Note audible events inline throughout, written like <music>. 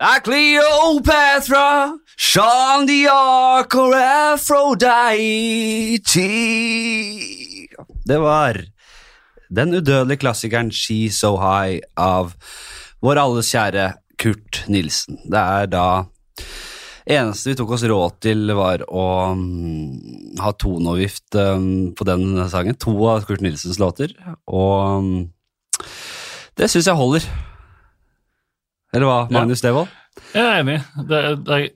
I Cleopatra, Sean the Ark or Aphrodite. Det var den udødelige klassikeren She So High av vår alles kjære Kurt Nilsen. Det er da eneste vi tok oss råd til var å mm, ha toneavgift mm, på den sangen. To av Kurt Nilsens låter, og mm, det syns jeg holder. Eller hva, Ja. Magnus Devold? Jeg er enig. Det er, det er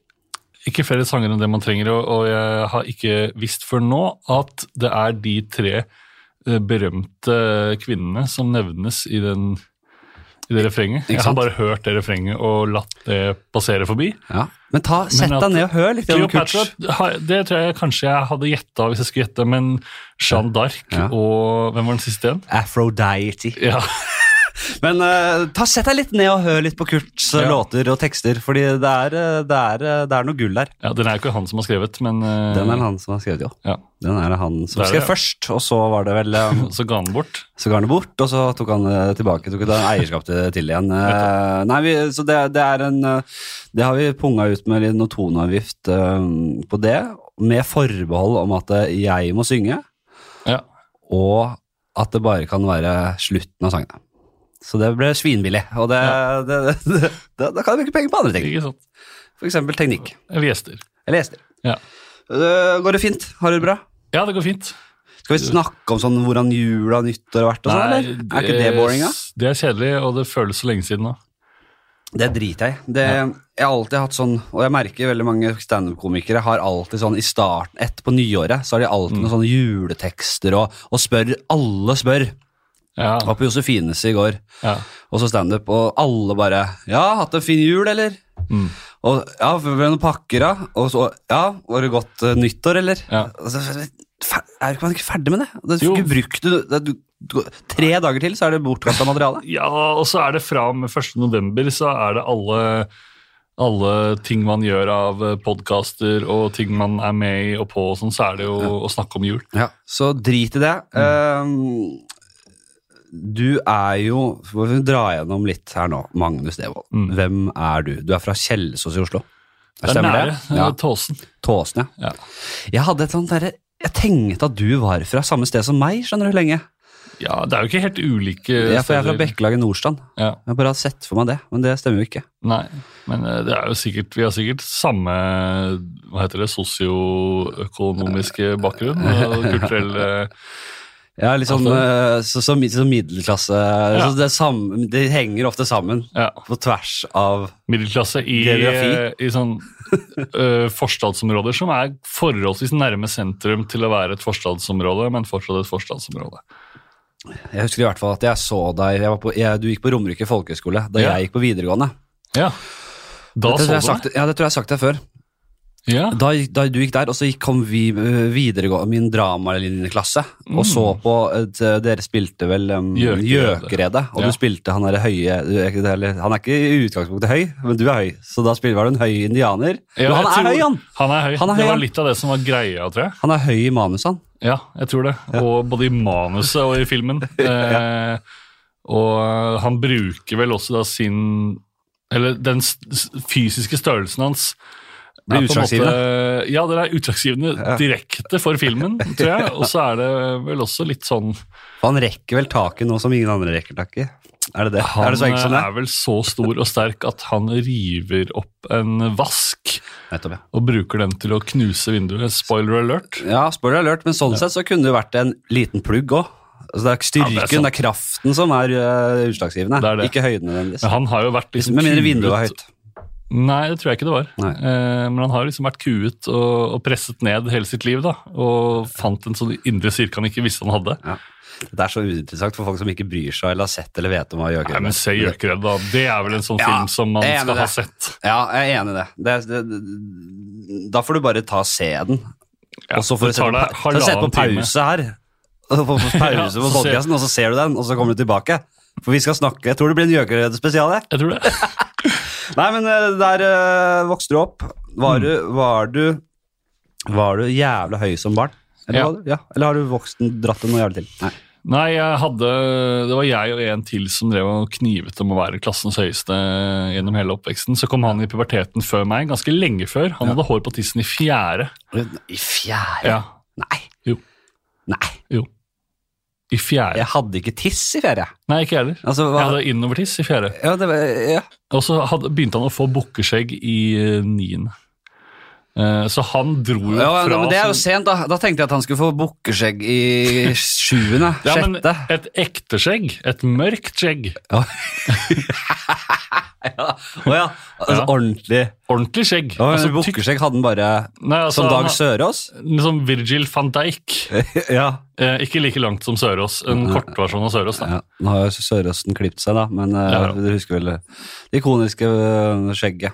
ikke flere sanger enn det man trenger, og, og jeg har ikke visst før nå at det er de tre eh, berømte kvinnene som nevnes i, den, i det refrenget. Jeg har sant? bare hørt det refrenget og latt det passere forbi. Ja. Men ta, sett at- deg ned og hør litt. grann, Cleopatra, Kurt. har- det tror jeg kanskje jeg hadde gjetta hvis jeg skulle gjette, men Jeanne d'Arc Ja. og Hvem var den siste igjen? Aphrodite. Ja, Men eh, ta, sett deg litt ned og hør litt på Kurts eh, Ja. låter og tekster, fordi det er, eh, det, er, eh, det er noe gull der. ja Den er jo ikke han som har skrevet, men eh, Den er det han som har skrevet, jo. ja. Den er det han som Det er skrev det, ja. først, og så var det vel <laughs> eh, Så ga han bort. Så ga han det bort, og så tok han det tilbake. Tok han eierskap til det til igjen. Eh, Nei, vi, så det, det er en eh, Det har vi punga ut med litt noe toneavgift eh, på det, med forbehold om at eh, jeg må synge, Ja. og at det bare kan være slutten av sangene. Så det ble svinbillig, og det, det, det, det, da kan du bruke penger på andre ting. Ikke sant. F.eks. teknikk. Eller gjester. Eller gjester. Ja. Eh, Går det fint? Har du det bra? Ja, det går fint. Skal vi snakke om sånn hvordan jula og nyttår har vært og sånn, eller? Er ikke det boring, da? Det er kjedelig, og det føles så lenge siden nå. Det driter jeg i. Det- Jeg har alltid hatt sånn, og jeg merker veldig mange standup-komikere har alltid sånn i starten, ett på nyåret, så har de alltid noen sånne juletekster og, og spør, alle spør. Ja, Jeg var på Josefines i går, ja. og så standup, og alle bare Ja, hatt en fin jul, eller? Mm. Og ja, ble det noen pakker da? Og så Ja, var det godt eh, nyttår, eller? Ja. Og så, fer- er man ikke ferdig med det? det Jo. du, bruk, du, det- du, du, tre dager til, så er det bortkasta <laughs> materiale. ja, og så er det fra og med 1. november, så er det alle, alle ting man gjør av podkaster og ting man er med i og på og sånn, så er det jo å snakke om jul. Ja, så drit i det. Mm. Ehm, du er jo Får vi dra gjennom litt her nå, Magnus Devold. Mm. Hvem er du? Du er fra Kjelsås i Oslo. Det er nære eh, Ja, Tåsen. Tåsen, ja. Ja. Jeg hadde et sånt derre Jeg tenkte at du var fra samme sted som meg, skjønner du, lenge. Ja, det er jo ikke helt ulike Jeg, for jeg er fra Bekkelaget Nordstrand. Ja, Jeg har bare hadde sett for meg det, men det stemmer jo ikke. nei, men eh, det er jo sikkert, vi har sikkert samme, hva heter det, sosioøkonomiske bakgrunn <laughs> og eh, kulturelle Jeg er litt sånn eh, så, så, så middelklasse Ja. så det, er samme, det henger ofte sammen ja. på tvers av middelklasse i, Geografi. i sånn ø, forstadsområder som er forholdsvis nærme sentrum til å være et forstadsområde, men fortsatt et forstadsområde. Jeg husker i hvert fall at jeg så deg jeg var på, jeg, Du gikk på Romerike folkehøgskole da Ja. jeg gikk på videregående. Ja, da Det tror jeg så du har sagt, det. ja, det tror jeg jeg har sagt deg før. Ja. Da, da du gikk der, og så gikk, kom vi eh, videregående, min dramalinjeklasse og så Mm. på et, eh, Dere spilte vel um, Gjøkeredet. Gjøkeredet, og Ja. du spilte han derre høye du er ikke- det er litt- Han er ikke i utgangspunktet høy, men du er høy, så da spil- var du en høy indianer. Ja, Men han jeg er høy, tror- han! Han er høy. Han er høy, det var han. litt av det som var greia, tror jeg. Han er høy i manus, han. Ja, jeg tror det. Og både i manuset og i <laughs> filmen. Eh, og eh, han bruker vel også da sin Eller den s- s- fysiske størrelsen hans Blir er på en måte- utslagsgivende. Ja, den er utslagsgivende direkte for <laughs> filmen, tror jeg. Og så er det vel også litt sånn For han rekker vel taket nå som ingen andre rekker taket. Er det det? Han eh, er det så enkelt som det? er vel så stor og sterk at han river opp en vask Nettopp, ja. og bruker den til å knuse vinduet. Spoiler alert. Ja, spoiler alert, men sånn sett så kunne det vært en liten plugg òg. Altså det er ikke styrken, Ja, det er det, er sant. kraften som er øh, utslagsgivende, Det er det. ikke høyden nødvendigvis. Men han har jo vært liksom Med mindre vinduet kuet var høyt. Nei, det tror jeg ikke det var. Nei. Eh, men han har liksom vært kuet og, og presset ned hele sitt liv, da. Og fant en sånn indre styrke han ikke visste han hadde. Ja. Det er så uinteressant for folk som ikke bryr seg eller har sett eller vet om hva gjøker Nei, men se Gjøkered, da. Det er vel en sånn Ja, film som man jeg er enig skal i ha det. sett. Ja, jeg er enig i det. det, er- det, det da får du bare ta og se den, Ja, og så får det du sette tar deg på, pa- så sette på halvannen time. pause her. Og På <laughs> på pause Ja, på så ser- podcasten, og så ser du den, og så kommer du tilbake. For vi skal snakke Jeg tror det blir en Gjøkered-spesial, jeg. Jeg tror det. <laughs> Nei, men eh, der eh, vokste du opp. Mm. Var du, var du, var du jævla høy som barn? Eller, Ja. var du, ja. Eller har du voksen dratt det noe jævlig til? Nei. Nei, jeg hadde, det var jeg og en til som drev og knivet om å være klassens høyeste gjennom hele oppveksten. Så kom han i puberteten før meg, ganske lenge før. Han hadde hår på tissen i fjerde. I fjerde? Ja, Nei. Jo. Nei, jo. I fjerde. jeg hadde ikke tiss i fjerde. Nei, ikke jeg heller. Altså, Jeg hva? hadde innovertiss i fjerde. Ja, det var, ja. Og så hadde, begynte han å få bukkeskjegg i eh, niende. Eh, Så han dro jo ja, fra men det er jo som- sent, da. Da tenkte jeg at han skulle få bukkeskjegg i sjuende. <laughs> ja, men sjette. et ekte skjegg. Et mørkt skjegg. Ja. Å ja. Altså, Ja. Ordentlig. Ordentlig skjegg. Ja, men Altså, tykk- bukkeskjegg hadde han bare Nei, altså, som Dag han- Sørås? liksom Virgil van Dijk. ja. Eh, ikke like langt som Sørås. En kortversjon av Sørås. ja. Da. Nå har jo Søråsen klippet seg, da, men eh, Ja. du husker vel det ikoniske eh, skjegget.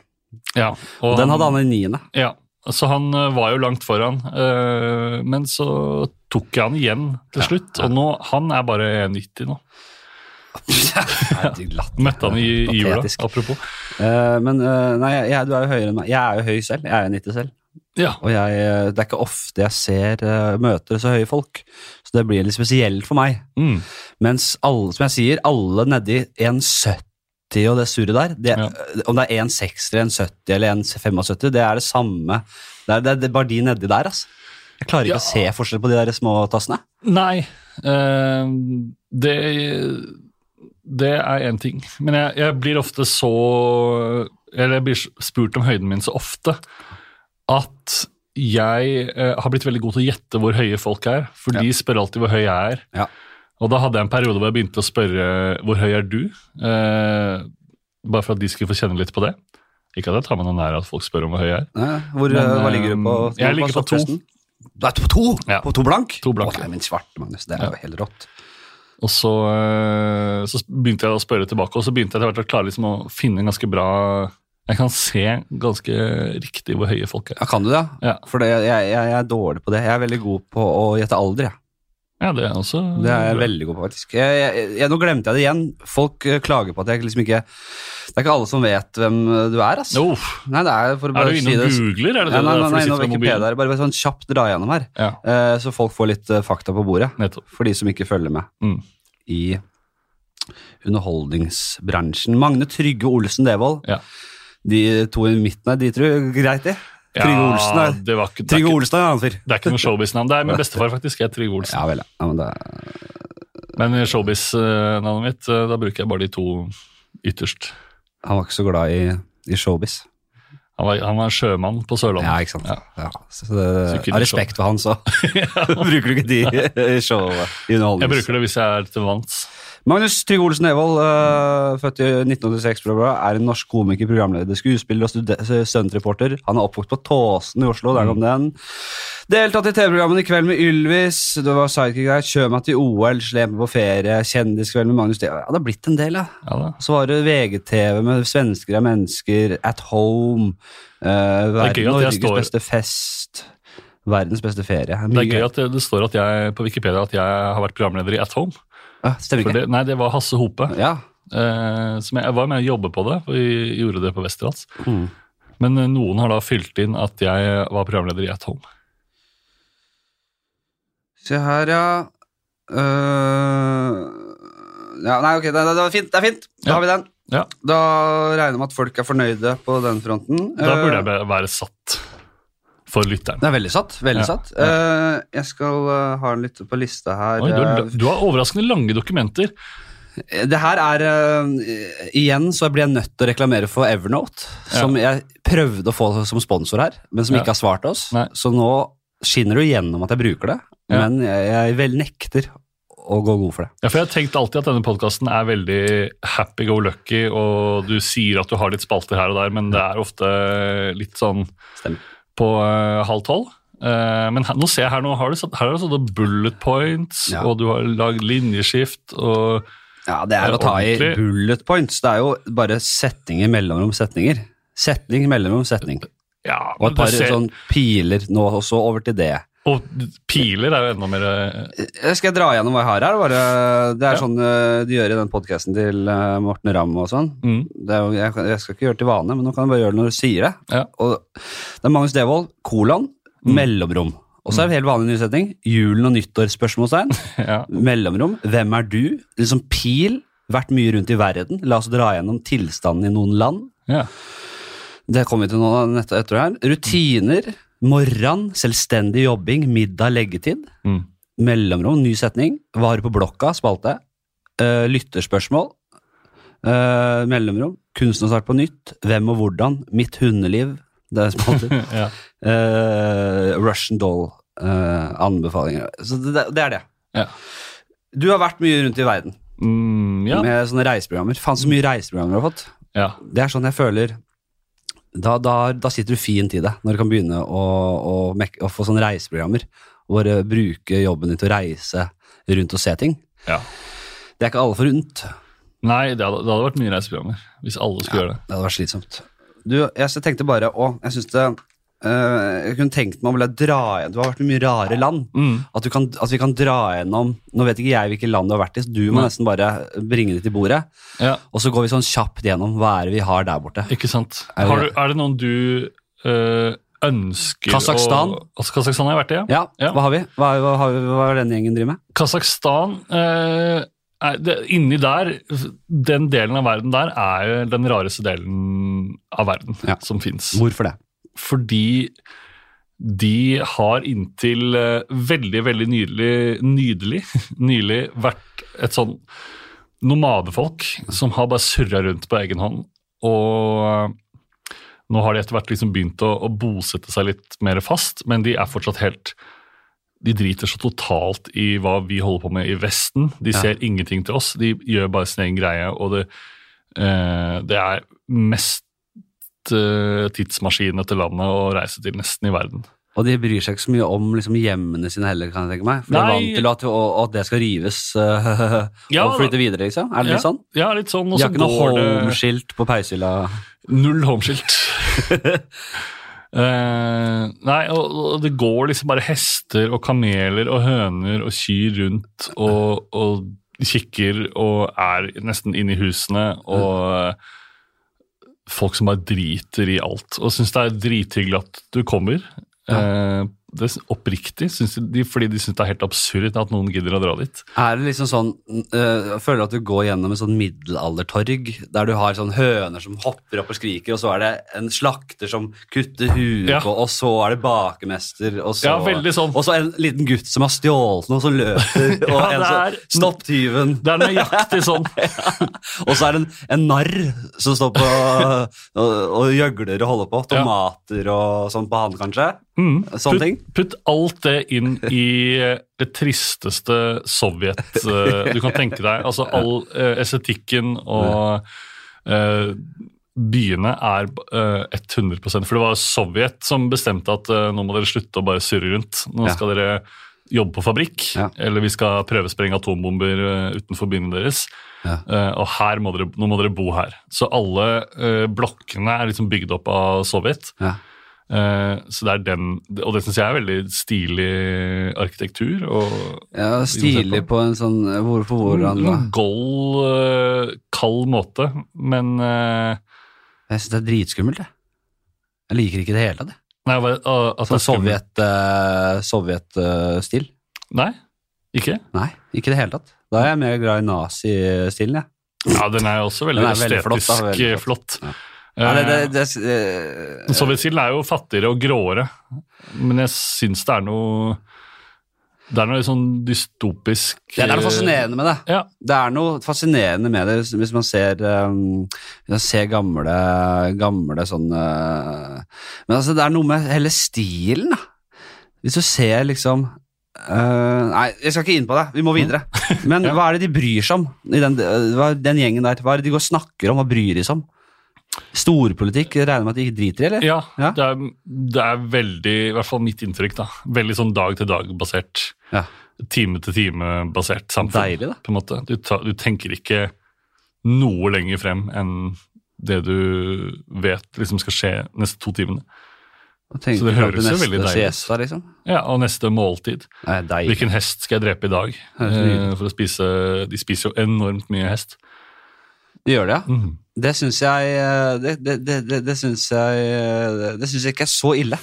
Ja, Og den hadde han i <laughs> niende. Ja, så han eh, var jo langt foran. eh, Men så tok jeg han igjen til slutt. Og nå, han er bare 90 nå. Møtte han i, i jula, Patetisk. apropos. Eh, men eh, nei, jeg, du er jo høyere enn meg. Jeg er jo høy selv. Jeg er jo 90 selv. Ja, Og jeg, eh, det er ikke ofte jeg ser eh, møter så høye folk, så det blir litt spesielt for meg. mm. Mens alle, som jeg sier, alle nedi 1,70 og det surret der, det, eh, Ja. om det er 1,60 eller 1,70 eller 1,75, det er det samme. Det er, det er bare de nedi der, altså. Jeg klarer ikke Ja. å se forskjell på de der små tassene. Nei, eh, det, det er én ting. Men jeg, jeg blir ofte så Eller jeg blir spurt om høyden min så ofte at jeg eh, har blitt veldig god til å gjette hvor høye folk er. For de spør alltid hvor høy jeg er. Ja. Og da hadde jeg en periode hvor jeg begynte å spørre hvor høy er du? Eh, bare for at de skulle få kjenne litt på det. Ikke at jeg tar meg noe nær at folk spør om hvor høy jeg er. Nei, Hvor, Men, eh, hva ligger du på? eh, jeg ligger på to. stopptesten? Du er på to? Ja. På to blank? To blank, Å, ja. nei, men svarte, Magnus. Det er Ja. jo helt rått. Og så, eh, så begynte jeg å spørre tilbake, og så begynte jeg etter hvert å klare liksom å finne en ganske bra Jeg kan se ganske riktig hvor høye folk er. Ja, kan du det? Ja. For det, jeg, jeg, jeg er dårlig på det. Jeg er veldig god på å gjette alder, jeg. Ja, det er også Det er jeg veldig god på, faktisk. Jeg, jeg, jeg, nå glemte jeg det igjen. Folk eh, klager på at jeg liksom ikke Det er ikke alle som vet hvem eh, du er, altså. Uff, Nei, det er for å er bare du si inne det. og googler? Er Nei, det det nei, nei, nei, derfor du nå sitter med mobilen? Wikipedia er bare sånn kjapt dra gjennom her, Ja, eh, så folk får litt eh, fakta på bordet. nettopp. For de som ikke følger med Mm. i underholdningsbransjen. Magne Trygge Olsen Devold. Ja. De to i midten her, de tror jeg greit, de. Trygve Olsen ja, er det, var ikke, det, er Trygge ikke, Olsen er en annen fyr. det er ikke noe showbiz-navn. Det er min bestefar, faktisk. Jeg er Trygve Olsen. Ja vel, ja. ja. Men det er, Men showbiz-navnet mitt, eh, da bruker jeg bare de to ytterst. han var ikke så glad i, i showbiz. Han var, han var en sjømann på Ja, Sørlandet. ikke sant. Ja. Ja. Så det, Så av ikke det respekt for han, <laughs> så <laughs> bruker du ikke de i show i Jeg underholdnings... bruker det hvis jeg er til vanns. Magnus Trygve Olsen Evold, eh, født i 1986, bla, bla, bla, er en norsk komiker, programleder, skuespiller og stude- stuntreporter. Han er oppvokst på Tåsen i Oslo, Mm. der kom den. Deltatt i TV-programmene I kveld med Ylvis, du var sidekick der, kjør meg til OL, slem på ferie, kjendiskveld med Magnus Devold. Ja, det har blitt en del, ja. Ja, da. Så var det VGTV med svensker er mennesker, At Home, eh, gøy verden, at jeg Norges står- beste fest, verdens beste ferie. Det er gøy at det, det står at jeg, på Wikipedia at jeg har vært programleder i At Home. Ja, Ah, stemmer For ikke. det, nei, det var Hasse Hope. Ja. Eh, som jeg, jeg var med å jobbe på det, og vi gjorde det på Westerdals. Mm. Men eh, noen har da fylt inn at jeg var programleder i At Home. Se her, ja. Eh, ja, nei, ok, det, det, det var fint. Det er fint. Da Ja. har vi den. Ja. Da regner jeg med at folk er fornøyde på den fronten. Da Eh, burde jeg be- være satt for lytteren. Det er veldig satt. veldig Ja, satt. Eh, jeg skal eh, ha en litt på lista her. Oi, du, har, Eh, du har overraskende lange dokumenter. Det her er eh, Igjen så blir jeg nødt til å reklamere for Evernote, som jeg prøvde å få som sponsor her, men som Ja. ikke har svart oss. Nei. Så nå skinner det jo gjennom at jeg bruker det, Ja. men jeg, jeg vel nekter å gå god for det. Ja, for Jeg har tenkt alltid at denne podkasten er veldig happy-go-lucky, og du sier at du har litt spalter her og der, men det er ofte litt sånn Stemmer. på eh, halv tolv. Eh, men her, nå ser jeg her, nå har du satt, her er det sånne bullet points, Ja. og du har lagd linjeskift, og Ja, det er Det er å ta ordentlig. i bullet points. Det er jo bare setninger mellomrom setninger. Setning mellomrom setning. ja, Og men et det par ser, sånn piler nå, og så over til det. og piler er jo enda mer eh, Eh, Skal jeg dra gjennom hva jeg har her? Bare, det er Ja. sånn eh, de gjør i den podkasten til eh, Morten Ramm og sånn. mm, det er jo, jeg, kan- jeg skal ikke gjøre det til vane, men nå kan jeg bare gjøre det når du sier det. Ja. Og det er Magnus Devold, kolon, mellomrom. Og så er det helt vanlig nysetning. Julen og nyttår, spørsmålstegn. Ja. Mellomrom. Hvem er du? Liksom pil. Vært mye rundt i verden. La oss dra gjennom tilstanden i noen land. ja. Det kommer vi til noe nett- etter her. Rutiner. Morgen. Selvstendig jobbing. Middag. Leggetid. Mm. Mellomrom. Ny setning. Vare på blokka. Spalte. Eh, lytterspørsmål. Eh, mellomrom. Kunstnerstart på nytt. Hvem og hvordan. Mitt hundeliv. Det er spalter. <laughs> ja. mm, Eh, Russian Doll-anbefalinger. så det, det er det. Ja. Du har vært mye rundt i verden Mm, ja. med sånne reiseprogrammer. Faen, så mye reiseprogrammer du har fått. ja. Det er sånn jeg føler Da, da, da sitter du fint i det, når du kan begynne å, å, mekke, å få sånne reiseprogrammer. Hvor du bruker jobben din til å reise rundt og se ting. ja. Det er ikke alle forunt. Nei, det hadde, det hadde vært mye reiseprogrammer hvis alle skulle gjøre det. Det hadde vært slitsomt. Du, jeg så tenkte bare å, jeg syns det eh, Jeg kunne tenkt meg å ville dra igjen Du har vært i mye rare land. Mm. At, du kan, at vi kan dra gjennom Nå vet ikke jeg hvilke land du har vært i, så du må Nei. nesten bare bringe det til bordet. Ja, Og så går vi sånn kjapt gjennom hva er det vi har der borte. ikke sant. Er det- Har du, er det noen du øh, ønsker Kasakhstan? å altså, Kasakhstan har jeg vært i, ja. Ja, Ja. hva har vi? Hva, hva, har vi? hva er denne gjengen driver med? Kasakhstan eh, er, det, Inni der, den delen av verden der, er jo den rareste delen av verden Ja. som fins. Hvorfor det? Fordi de har inntil eh, veldig, veldig nydelig, nydelig, <laughs> nylig vært et sånn nomadefolk som har bare surra rundt på egen hånd. Og eh, nå har de etter hvert liksom begynt å, å bosette seg litt mer fast, men de er fortsatt helt de driter så totalt i hva vi holder på med i Vesten. De Ja. ser ingenting til oss. De gjør bare sin egen greie, og det, eh, det er mest eh, tidsmaskinen til landet å reise til nesten i verden. Og de bryr seg ikke så mye om liksom, hjemmene sine heller, kan jeg tenke meg. For de er Nei. vant til at, og, at det skal rives eh, <laughs> Ja, og flytte videre, liksom. Er det litt sånn? Ja, litt sånn, og De så har ikke noe går det homeskilt på peishylla. null homeskilt. <laughs> Eh, nei, og, og det går liksom bare hester og kameler og høner og kyr rundt og, og kikker og er nesten inne i husene og eh, folk som bare driter i alt og syns det er drithyggelig at du kommer. Eh, det er oppriktig, synes de, fordi de syns det er helt absurd at noen gidder å dra dit. Er det liksom sånn øh, Føler du at du går gjennom en sånn middelaldertorg, der du har sånn høner som hopper opp og skriker, og så er det en slakter som kutter huet Ja. på, og så er det bakemester, og så Ja, veldig sånn. Og så en liten gutt som har stjålet noe, som løper, og <laughs> Ja, en det som er- Stopp tyven! Det er nøyaktig sånn. Og så er det en, en narr som står på og, og gjøgler og holder på. Ja. Tomater og sånn på han, kanskje. Mm. Sånne ting. Putt alt det inn i det tristeste Sovjet eh, du kan tenke deg. Altså all eh, estetikken og eh, byene er eh, 100 For det var Sovjet som bestemte at eh, nå må dere slutte å bare surre rundt. Nå Ja. skal dere jobbe på fabrikk, Ja. eller vi skal prøvesprenge atombomber eh, utenfor byene deres. Ja. Eh, og her må dere, nå må dere bo her. Så alle eh, blokkene er liksom bygd opp av Sovjet. Ja. Eh, så det er den, og det syns jeg er veldig stilig arkitektur. Og Ja, stilig på Mm. en sånn hvor, på hvordan da? en gold, eh, kald måte. Men eh, Jeg syns det er dritskummelt, jeg. Jeg liker ikke det hele tatt. jeg. Nei, hva- ah, at det er Sånn skummelt. sovjet, eh, sovjetstil. Nei, ikke? Nei, ikke i det hele tatt. Da er jeg mer glad i nazistilen, jeg. Ja, den er jo også veldig, Den er veldig flott, da, estetisk flott. veldig flott. Ja. Eh, Nei, det, det, det, eh, Sovjetsiden er jo fattigere og gråere, men jeg syns det er noe Det er noe litt sånn dystopisk det er noe eh, fascinerende med det. Ja, Det er noe fascinerende med det hvis- hvis man ser, um, hvis man ser gamle, gamle sånne Men altså, det er noe med hele stilen, da. Hvis du ser liksom øh, Nei, jeg skal ikke inn på det. Vi må Mm. videre. <laughs> Men hva er det de bryr seg om, i den, øh, hva, den gjengen der? Hva er det de går og snakker om? Hva bryr de seg om? Storpolitikk jeg regner med at de ikke driter i, eller? Ja, Ja. Det, er, det er veldig, i hvert fall mitt inntrykk, da. Veldig sånn dag-til-dag-basert. Ja. Time-til-time-basert samfunn. Deilig, da. På en måte. Du, ta, du tenker ikke noe lenger frem enn det du vet liksom skal skje neste to timene. Og tenker Så det fram til høres jo neste veldig deilig ut. siesta, liksom. Ja, Og neste måltid. Nei, deilig. Hvilken hest skal jeg drepe i dag? Høres nydelig Eh, For å spise De spiser jo enormt mye hest. De gjør det, ja. Mhm. Det syns jeg eh, Det, det, det, det, det syns jeg eh, Det syns jeg ikke er så ille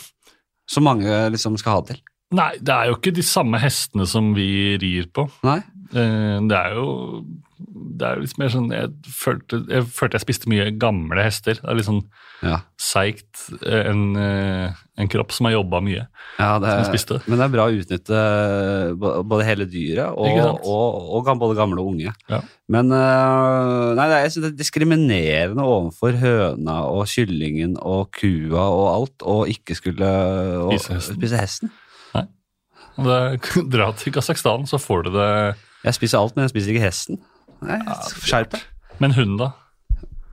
som mange liksom skal ha det til. Nei, det er jo ikke de samme hestene som vi rir på. Nei? Eh, Det er jo det er jo litt mer sånn jeg følte, jeg følte jeg spiste mye gamle hester. Det er litt sånn Ja. seigt. eh, En, eh, en kropp som har jobba mye. Ja, det Som jeg spiste. Men det er bra å utnytte bo- både hele dyret og, Ikke sant? og, og gam- både gamle og unge. Ja. Men øh, nei, det er, jeg synes det er diskriminerende overfor høna og kyllingen og kua og alt å ikke skulle å, Spise hesten. spise hesten. Og det, <laughs> dra til Kasakhstan, så får du det. Jeg spiser alt, men jeg spiser ikke hesten. Nei, Skjerp deg. Men hunden, da?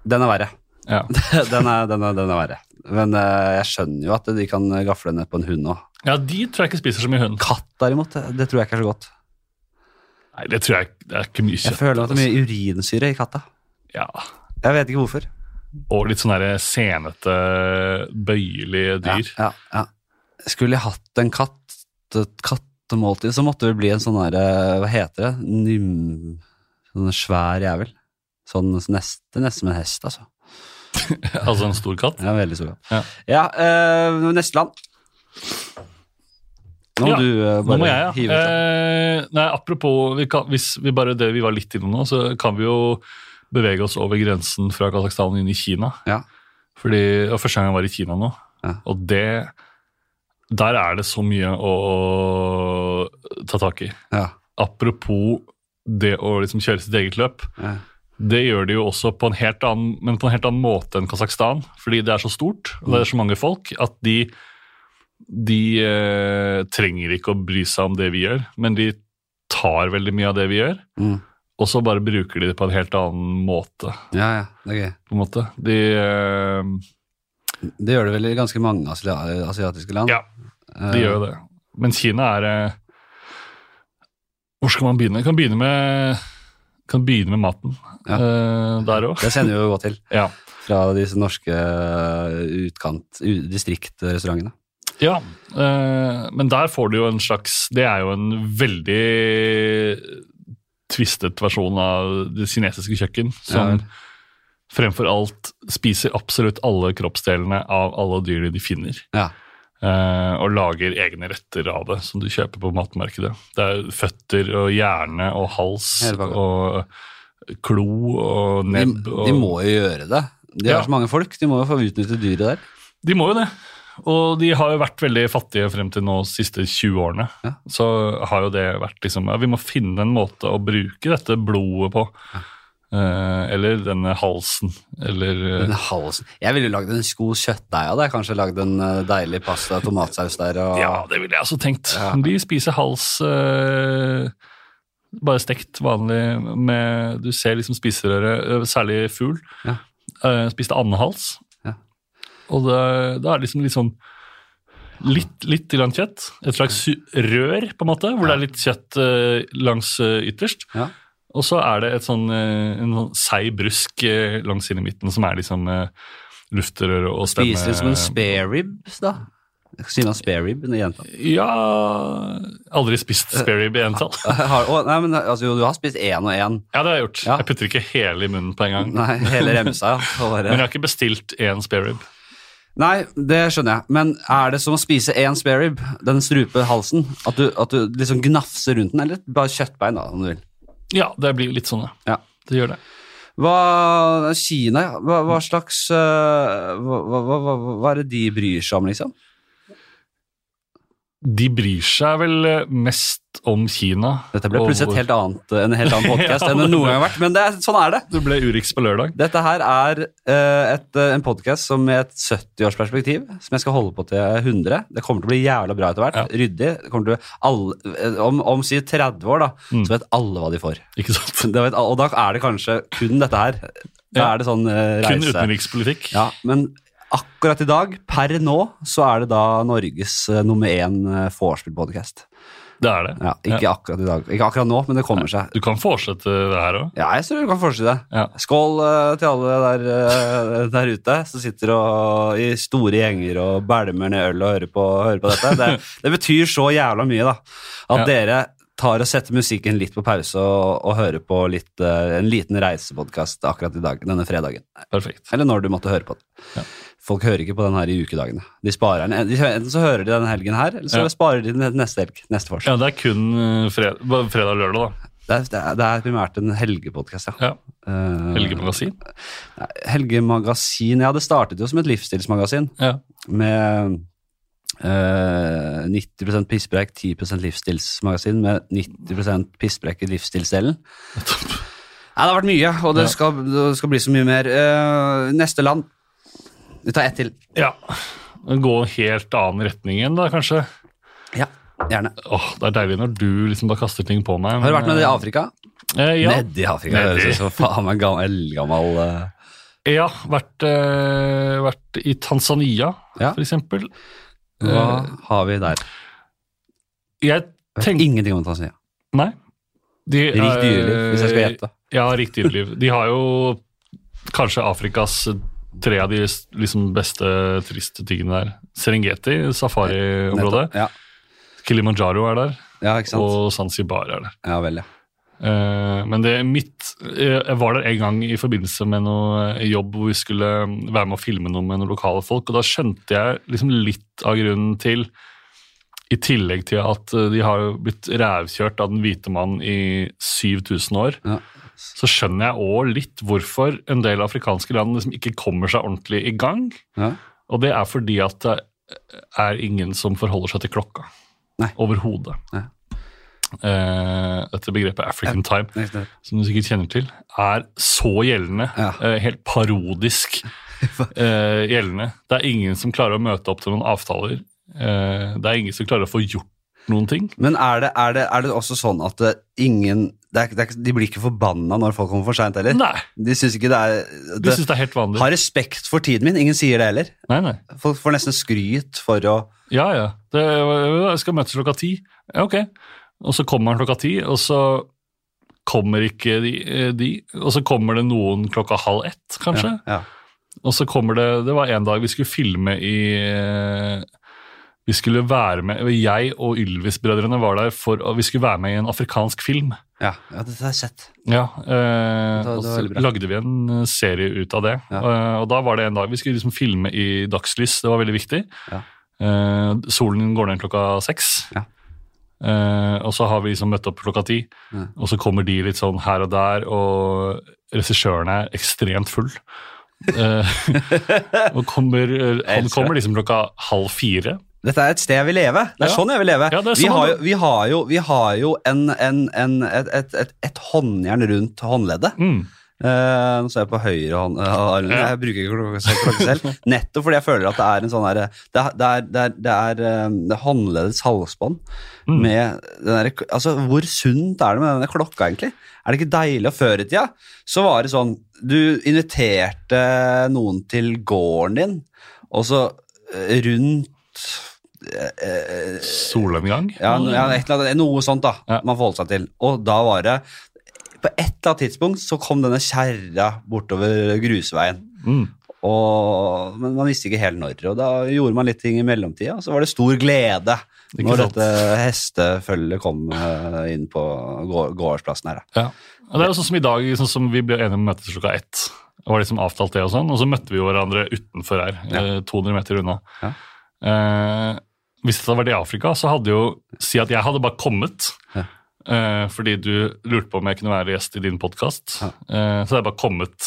Den er verre. Ja. <laughs> Den er, den er, den er verre. Men øh, jeg skjønner jo at de kan gafle ned på en hund òg. ja, de tror jeg ikke spiser så mye hund. Katt derimot, eh, det tror jeg ikke er så godt. Nei, det tror jeg ikke- det er ikke mye Jeg kjøtt. altså. føler at det er mye urinsyre i katta. Ja. Jeg vet ikke hvorfor. Og litt sånn derre senete, bøyelige dyr. Ja, ja, ja. Skulle jeg hatt en katt, et kattemåltid, så måtte det vel bli en sånn derre Hva heter det? Nym... Sånn svær jævel. Sånn neste, nesten som en hest, altså. <laughs> Altså en stor katt. Ja, veldig stor. Ja. ja øh, neste land. Nå må Ja, du øh, Nå bare må jeg, ja. hive ut. da. Eh, nei, apropos, vi kan, hvis vi bare det vi var litt innom nå, så kan vi jo bevege oss over grensen fra Kasakhstan inn i Kina. Ja. Fordi, det var første gang jeg var i Kina nå, Ja. og det Der er det så mye å, å ta tak i. Ja, Apropos det å liksom kjøre sitt eget løp. ja, Det gjør de jo også på en helt annen, men på en helt annen måte enn Kasakhstan. Fordi det er så stort, og det er så mange folk, at de, de eh, trenger ikke å bry seg om det vi gjør, men de tar veldig mye av det vi gjør, mm. og så bare bruker de det på en helt annen måte. ja, ja, det er gøy. På en måte. De eh, Det gjør det vel i ganske mange asia- asiatiske land? Ja, De gjør jo det. Men Kina er eh, Hvor skal man begynne? Kan begynne med, kan begynne med maten Ja. eh, der òg. Det sender vi jo godt til Ja. fra disse norske eh, utkant, u- distriktrestaurantene. ja. eh, men der får du jo en slags Det er jo en veldig tvistet versjon av det kinesiske kjøkken. Ja Som vel. fremfor alt spiser absolutt alle kroppsdelene av alle dyrene de finner. Ja. Eh, og lager egne retter av det, som du kjøper på matmarkedet. Det er føtter og hjerne og hals Hele pakka. og klo og De, nebb. Og, de må jo gjøre det. De Ja. har så mange folk, de må jo få utnytte dyret der. De må jo det. Og de har jo vært veldig fattige frem til nå de siste 20 årene. Ja. Så har jo det vært liksom ja, Vi må finne en måte å bruke dette blodet på. Eh, eller denne halsen. Eller eh, Den halsen. Jeg ville jo lagd en god kjøttdeig av det. Kanskje lagd en eh, deilig pasta og tomatsaus der. Og, Ja, det ville jeg også tenkt. Ja. De spiser hals eh, bare stekt vanlig med Du ser liksom spiserøret, eh, særlig fugl. Ja. Eh, spiste andehals. Ja. Og det, da er det liksom litt sånn Litt, litt grann kjøtt. Et slags su- rør, på en måte, hvor det er litt kjøtt eh, langs eh, ytterst. Ja. Og så er det et sånn, eh, en sånn seig brusk eh, langs inn i midten, som er liksom eh, luftrør og stemme... Spiser det som en spare ribs, da. Sier man spare rib? Nei, gjenta. Ja Aldri spist sparerib i entall. Har, å, nei, men altså, jo, du har spist én og én. Ja, det har jeg gjort. <laughs> Ja. Jeg putter ikke hele i munnen på en gang. Nei, hele remsa. Ja. og Men jeg Bare. har ikke bestilt én sparerib. Nei, det skjønner jeg. Men er det som å spise én spare rib? Den strupe halsen? At du, at du liksom gnafser rundt den? Eller bare kjøttbein, da, om du vil. Ja, det blir litt sånn, ja. Ja. Det gjør det. Hva, Kina, ja. Hva, hva slags øh, hva, hva, hva, hva- hva er det de bryr seg om, liksom? De bryr seg vel eh, mest om Kina. Dette ble og plutselig et hvor- helt annet, en helt <laughs> annen podkast Ja, enn det det noen ble- gang har vært, men det er, sånn er det. Det ble Urix på lørdag. Dette her er øh, et, øh, en podkast som med et 70-årsperspektiv, som jeg skal holde på til 100 Det kommer til å bli jævla bra etter hvert. Ja. Ryddig. Det kommer til å, alle, øh, om, om si 30 år, da, Mm. så vet alle hva de får. Ikke sant? Det vet, alle- og da er det kanskje kun dette her. Da Ja. er det sånn øh, Kun reise. utenrikspolitikk. Ja, men akkurat i dag, per nå, så er det da Norges eh, nummer én eh, vorspiel-podkast. Det er det. Ja, ikke akkurat i dag. Ikke akkurat nå, men det kommer seg. Du kan fortsette det her òg. Ja, jeg tror du kan forestille deg. Ja. Skål eh, til alle der, eh, der ute som sitter og, i store gjenger og bælmer ned øl og hører på, hører på dette. Det, det betyr så jævla mye, da. At Ja. dere tar og setter musikken litt på pause og, og hører på litt, eh, en liten reisepodkast akkurat i dag, denne fredagen. Perfekt. Eller når du måtte høre på det. Folk hører ikke på den her i ukedagene. De sparer den. de- Enten så hører de den helgen her, eller så Ja. sparer de den neste helg. Neste vors. Ja, det er kun eh, fred bare fredag og lørdag, da. Det, er- det, er- det er primært en helgepodkast, ja. Ja, Eh, Helgemagasin. nei, helgemagasin Ja, det startet jo som et livsstilsmagasin Ja. med eh, 90 pisspreik, 10 livsstilsmagasin med 90 pisspreik i livsstilsdelen. Nei, det har vært mye, og det, Ja. skal, det skal bli så mye mer. Eh, neste land. Vi tar ett til. ja. Gå en helt annen retning igjen, da, kanskje. Ja, gjerne. Åh, Det er deilig når du liksom bare kaster ting på meg. Har du vært med i Afrika? Eh, ja. Nedi Afrika. Nedi. Det høres ut som faen meg gammel, gammel eh, ja vært, eh, vært i Tanzania, Ja. for eksempel. Hva har vi der? Jeg Vet tenker Ingenting om Tanzania. Nei. De, Rikt dyreliv, eh, hvis jeg skal gjette. Ja, rikt dyreliv. De har jo kanskje Afrikas tre av de s- liksom beste triste tingene der. Serengeti, safariområdet. Ja. Kilimanjaro er der, ja, ikke sant. og Zanzibar er der. Ja vel, ja. Eh, Men det er mitt eh, Jeg var der en gang i forbindelse med noe eh, jobb hvor vi skulle mm, være med å filme noe med noen lokale folk, og da skjønte jeg liksom litt av grunnen til I tillegg til at eh, de har jo blitt rævkjørt av den hvite mannen i 7000 år, Ja. så skjønner jeg òg litt hvorfor en del afrikanske land liksom ikke kommer seg ordentlig i gang. ja. Og det er fordi at det er ingen som forholder seg til klokka. Nei. Overhodet. Nei. Eh, dette begrepet African time, Neste. som du sikkert kjenner til, er så gjeldende. Ja. Eh, helt <laughs> parodisk eh, gjeldende. Det er ingen som klarer å møte opp til noen avtaler. Eh, det er ingen som klarer å få gjort noen ting. Men er det, er, det, er det også sånn at det, ingen det er, ikke- det er, ikke- De blir ikke forbanna når folk kommer for seint heller? Nei, De syns ikke det er de Eh, det, syns det er helt vanlig. Har respekt for tiden min. Ingen sier det heller. Nei, nei. Folk får nesten skryt for å Ja, ja. Det, jeg skal møtes klokka ti. Ja, ok. Og så kommer han klokka ti, og så kommer ikke de, eh, de. Og så kommer det noen klokka halv ett, kanskje. Ja, ja. Og så kommer det Det var en dag vi skulle filme i eh, Vi skulle være med Jeg og Ylvis-brødrene var der for at vi skulle være med i en afrikansk film. ja. ja dette har jeg sett. Ja, Det var- eh, og det var så veldig bra. lagde vi en eh, serie ut av det. Ja. Eh, og da var det en dag vi skulle liksom filme i dagslys, det var veldig viktig. Ja. Eh, solen går ned klokka seks. Ja. Eh, og så har vi liksom møtt opp klokka ti, Ja. og så kommer de litt sånn her og der, og regissøren er ekstremt full. Eh, <laughs> og kommer, eh, han Elsker kommer liksom klokka halv fire. Dette er et sted jeg vil leve. Det er Ja. sånn jeg vil leve. Ja, det er vi, sånn har jo, det- vi har jo, vi har jo en, en, en, et, et, et, et håndjern rundt håndleddet. Mm. Eh, nå ser jeg på høyre hånd eh, av armen. Ja. Jeg bruker ikke klokke selv, klokke <laughs> selv. Nettopp fordi jeg føler at det er en sånn herre Det er, det er, det er, det er, eh, det er håndleddets halsbånd Mm. med den derre Altså, hvor sunt er det med denne klokka, egentlig? Er det ikke deilig? Og før i tida så var det sånn Du inviterte noen til gården din, og så eh, rundt eh, eh, Solnedgang. ja, no- ja et eller annet, noe sånt da, Ja. man forholdt seg til. Og da var det På et eller annet tidspunkt så kom denne kjerra bortover grusveien. Mm. Og, men man visste ikke helt når. Og da gjorde man litt ting i mellomtida, og så var det stor glede Ikke når sant. dette hestefølget kom eh, inn på gå- gårdsplassen her. da. Ja. Og det er jo sånn som i dag, sånn som vi ble enige om å møtes klokka ett. Det var liksom avtalt det og sånn, og så møtte vi jo hverandre utenfor her, Ja. eh, 200 meter unna. Ja. Eh, hvis det hadde vært i Afrika, så hadde jo Si at jeg hadde bare kommet. Ja. eh, fordi du lurte på om jeg kunne være gjest i din podkast. Ja. Eh, så hadde jeg bare kommet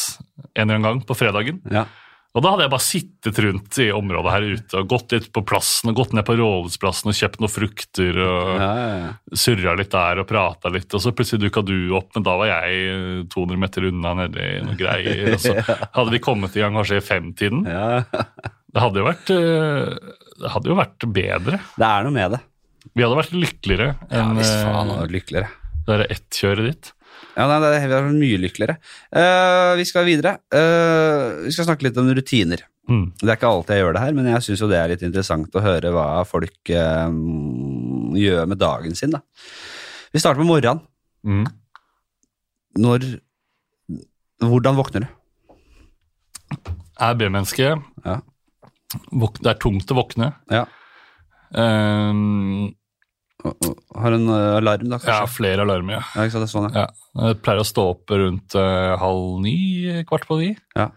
en eller annen gang på fredagen. Ja. Og da hadde jeg bare sittet rundt i området her ute og gått litt på plassen og gått ned på Rådhusplassen og kjøpt noen frukter og Ja, ja, ja. surra litt der og prata litt, og så plutselig dukka du opp, men da var jeg eh, 200 meter unna nedi noen greier. <laughs> Og så hadde vi kommet i gang kanskje i femtiden. Ja. Det hadde jo vært, eh, det hadde jo vært bedre. Det er noe med det. Vi hadde vært lykkeligere Ja, enn visst faen, eh, og lykkeligere. det der ett-kjøret ditt. Ja, nei, det er vi er mye lykkeligere. Eh, vi skal videre. Eh, vi skal snakke litt om rutiner. Mm. Det er ikke alltid jeg gjør det her, men jeg syns jo det er litt interessant å høre hva folk eh, gjør med dagen sin, da. Vi starter med morgenen. Mm. Når Hvordan våkner du? Er B-menneske. Ja. Våk- Det er tungt å våkne. Ja. Eh, Har en eh, alarm, da, jeg har kanskje? flere alarmer. ja. Ja, ikke sant, det er sånn, ja. Ja. Jeg pleier å stå opp rundt eh, halv ni, kvart på ni. Ja.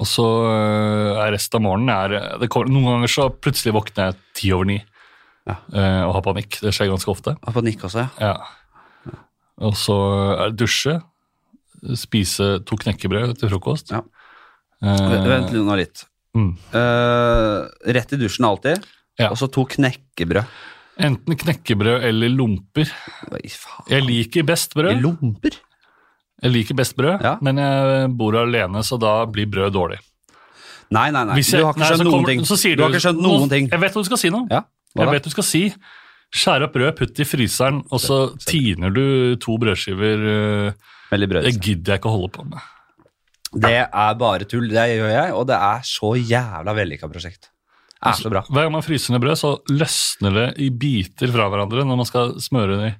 Og så eh, er resten av morgenen er, eh, det kommer, Noen ganger så plutselig våkner jeg ti over ni Ja. eh, og har panikk. Det skjer ganske ofte. Og på nikk også, ja. Ja. Og så er det dusje, spise to knekkebrød til frokost. Ja. Eh, Vent nå litt. Mm. Eh, rett i dusjen alltid, Ja. og så to knekkebrød. Enten knekkebrød eller lomper. Oi, faen. Jeg liker best brød, Lomper? jeg liker best brød Ja. men jeg bor alene, så da blir brød dårlig. Nei, nei, nei. Hvis jeg- du har ikke nei, så skjønt noen kommer- ting. Så sier du har ikke skjønt noen ting. Jeg vet hva du skal si nå. Ja, hva jeg da? vet du skal si. Skjære opp brød, putt i fryseren, og så tiner du to brødskiver. eh, Veldig brød. liksom. Det gidder jeg ikke å holde på med. Det er bare tull. Det gjør jeg, og det er så jævla vellykka prosjekt. Det er så bra. Hver gang man fryser ned brød, så løsner det i biter fra hverandre når man skal smøre det i.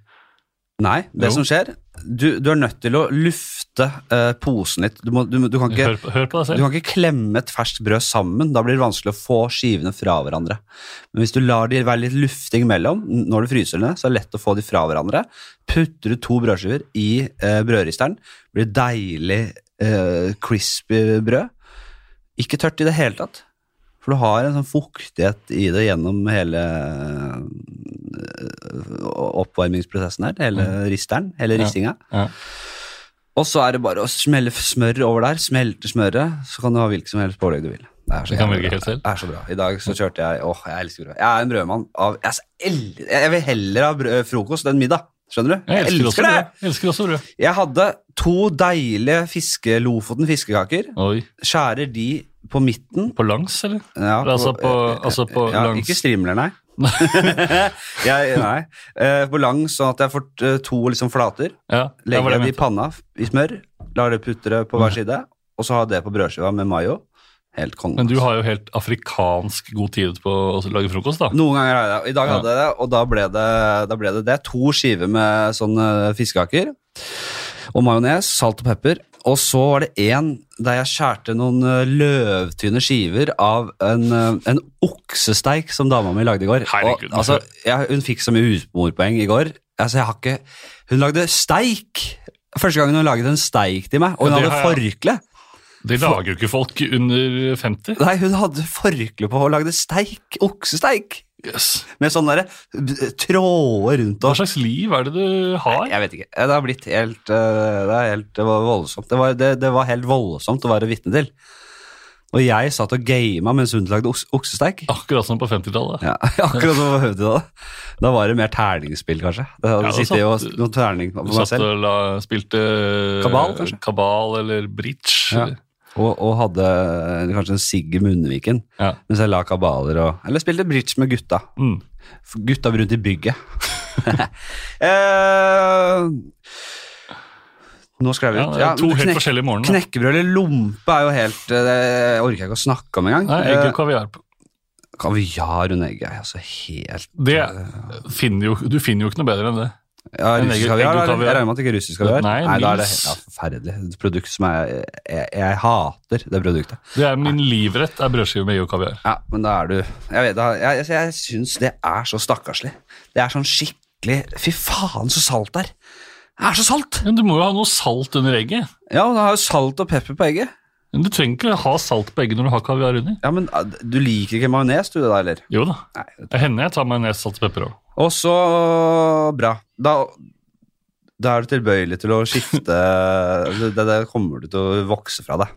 Nei, det Jo. som skjer Du, du er nødt til å lufte eh, posen litt. Du, må, du, du, kan ikke, Hør, på- hør på du deg selv. kan ikke klemme et ferskt brød sammen. Da blir det vanskelig å få skivene fra hverandre. Men hvis du lar de være litt lufting mellom, n- når du fryser ned, så er det lett å få de fra hverandre. Putter du to brødskiver i eh, brødristeren, blir det deilig eh, crispy brød. Ikke tørt i det hele tatt. For du har en sånn fuktighet i det gjennom hele øh, oppvarmingsprosessen her. Hele risteren, hele Ja, ristinga. ja. Og så er det bare å smelle smør over der. Smelte smøret, så kan du ha hvilket som helst pålegg du vil. Det er Du kan jævlig velge bra. helt selv. Det er så bra. I dag så kjørte jeg Åh, jeg elsker brød. Jeg er en brødmann. Av, jeg, s- el- jeg vil heller ha brød, frokost enn middag. Skjønner du? Jeg elsker også brød. Jeg elsker også brød. Jeg hadde to deilige fiske, Lofoten fiskekaker. Oi, Skjærer de på midten På langs, eller? ja, eh, Altså på- altså på ja, langs. Ikke strimler, <laughs> nei. <laughs> jeg, nei. Eh, på langs, sånn at jeg får eh, to liksom flater. Ja, det Legger var det jeg det i mente. Mm. panna f- i smør, lar det putre på hver side, og så har jeg det på brødskiva med mayo. Helt konge. Men du altså. har jo helt afrikansk god tid på å lage frokost, da. Noen ganger har jeg det. I dag hadde jeg det, og da ble det da ble det. det. To skiver med sånne fiskekaker og majones, salt og pepper. Og så var det en der jeg skjærte noen eh, løvtynne skiver av en, eh, en oksesteik som dama mi lagde i går. Herregud. Og, altså, jeg, hun fikk så mye husmorpoeng i går. Altså, jeg har ikke, hun lagde steik! Første gangen hun laget en steik til meg, og hun Ja, det hadde har forkle. De lager jo ikke folk under 50. Nei, hun hadde forkle på og lagde steik. Oksesteik! Yes. Med sånne der, b- tråder rundt Hva og slags liv er det du har? Jeg vet ikke. Det har blitt helt, eh, det er helt det var voldsomt. Det var, det, det var helt voldsomt å være vitne til. Og jeg satt og gama mens hun lagde oks oksesteik. Akkurat som på 50-tallet. Ja, <laughs> akkurat som på høyde da. Da var det mer terningspill, kanskje. Da Ja, hadde da jeg sittet og satt- noen terning på Du meg satt selv. og la, spilte eh, Kabal, kanskje? kabal eller bridge. Ja. Og, og hadde eh, kanskje en sigg i munnviken Ja. mens jeg la kabaler og Eller spilte bridge med gutta. Mm. For Gutta rundt i bygget. <laughs> eh, nå skrev jeg ut. Ja, Ja, to men helt knek- forskjellige morgener. da. Knekkebrød eller lompe er jo helt eh, Det orker jeg ikke å snakke om engang. Nei, egg og Eh, kaviar. på. Kaviar under egget er altså helt Det finner jo, du finner jo ikke noe bedre enn det. ja, en egg- Russisk egg og kaviar? eller? kaviar. Jeg regner med at det ikke er russisk kaviar? Nei, da er det Nils. ja, forferdelig. Et produkt som jeg, jeg Jeg hater det produktet. Det er Min livrett er brødskive med egg og kaviar. Ja, men da er du Jeg vet da- Jeg, jeg, jeg syns det er så stakkarslig. Det er sånn skikkelig Fy faen, så salt det er! Det er så salt! Men du må jo ha noe salt under egget. Ja, men det har jo salt og pepper på egget. Men Du trenger ikke ha salt på egget når du har kaviar under. Ja, men ah, Du liker ikke majones, du, det da, eller? Jo da. Nei, Det hender jeg tar majones, salt og pepper òg. Og så bra. Da, da er du tilbøyelig til å <laughs> skifte det, det kommer du til å vokse fra deg.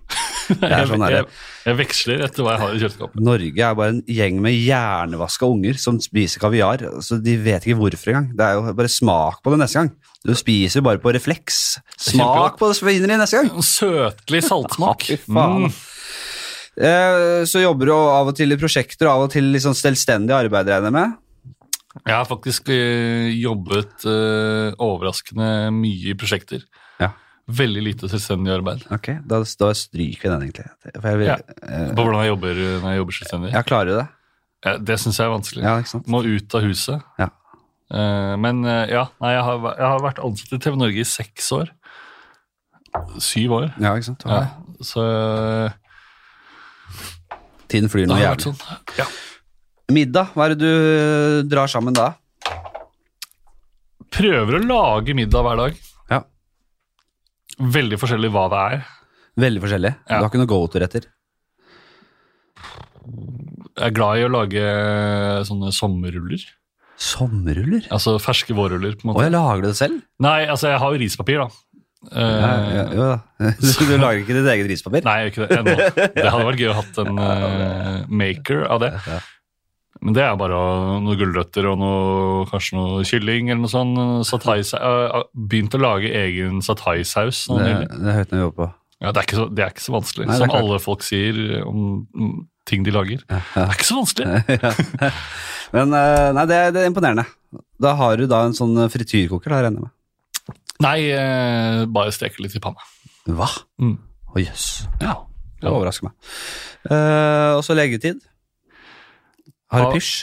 Det er sånn jeg, her. jeg veksler etter hva jeg har i kjøleskapet. Norge er bare en gjeng med hjernevaska unger som spiser kaviar. Så de vet ikke hvorfor engang. Det er jo bare smak på det neste gang. Du spiser bare på refleks. Kjempegodt. Smak på det svineriet neste gang. Søtlig saltsmak. Fy faen. Mm. Eh, Så jobber du av og til i prosjekter og av og til i sånn selvstendig arbeid, regner jeg med. Jeg har faktisk eh, jobbet eh, overraskende mye i prosjekter. Ja. Veldig lite selvstendig arbeid. Ok, Da, da stryker vi den, egentlig. For jeg, vil, Ja. eh, På hvordan jeg jobber eh, når jeg jobber selvstendig. jeg klarer det. Eh, Det syns jeg er vanskelig. Ja, ikke sant? Må ut av huset. Ja. Eh, Men eh, ja, nei, jeg har, væ- jeg har vært ansatt i TV Norge i seks år. Syv år. Ja, ikke sant? Ja. Så eh, Tiden flyr det nå har vært jævlig. sånn. Ja. Middag, hva er det du eh, drar sammen da? Prøver å lage middag hver dag. Ja. Veldig forskjellig hva det er. Veldig forskjellig. Du Ja. har ikke noe go-to-retter. er glad i å lage eh, sånne sommerruller. Sommerruller? Altså ferske vårruller, på en Og måte. jeg lager du det selv? Nei, altså, jeg har jo rispapir, da. Eh, Ja, ja, jo da. <laughs> Så du lager ikke ditt eget rispapir? Nei, jeg gjør ikke det ennå. <laughs> Det hadde vært gøy å hatt en eh, maker av det. Ja. Men det er bare å- noen gulrøtter og noe, kanskje noe kylling eller noe sånn, sånt. Satay-saus. eh, Jeg har Begynt å lage egen satay-saus. nå Det, nylig. det er høyt nivå på. <laughs> Ja, det, er ikke så- det er ikke så vanskelig, Nei, det er som klart. alle folk sier om mm, ting de lager. Det er ikke så vanskelig. Ja. Men eh, nei, det, er- det er imponerende. Da har du da en sånn frityrkoker, da, regner jeg med. Nei, eh, bare steke litt i panna. Hva? Mm. Å jøss. Ja. Det overrasker meg. Eh, og så legetid. Har Ja. du pysj?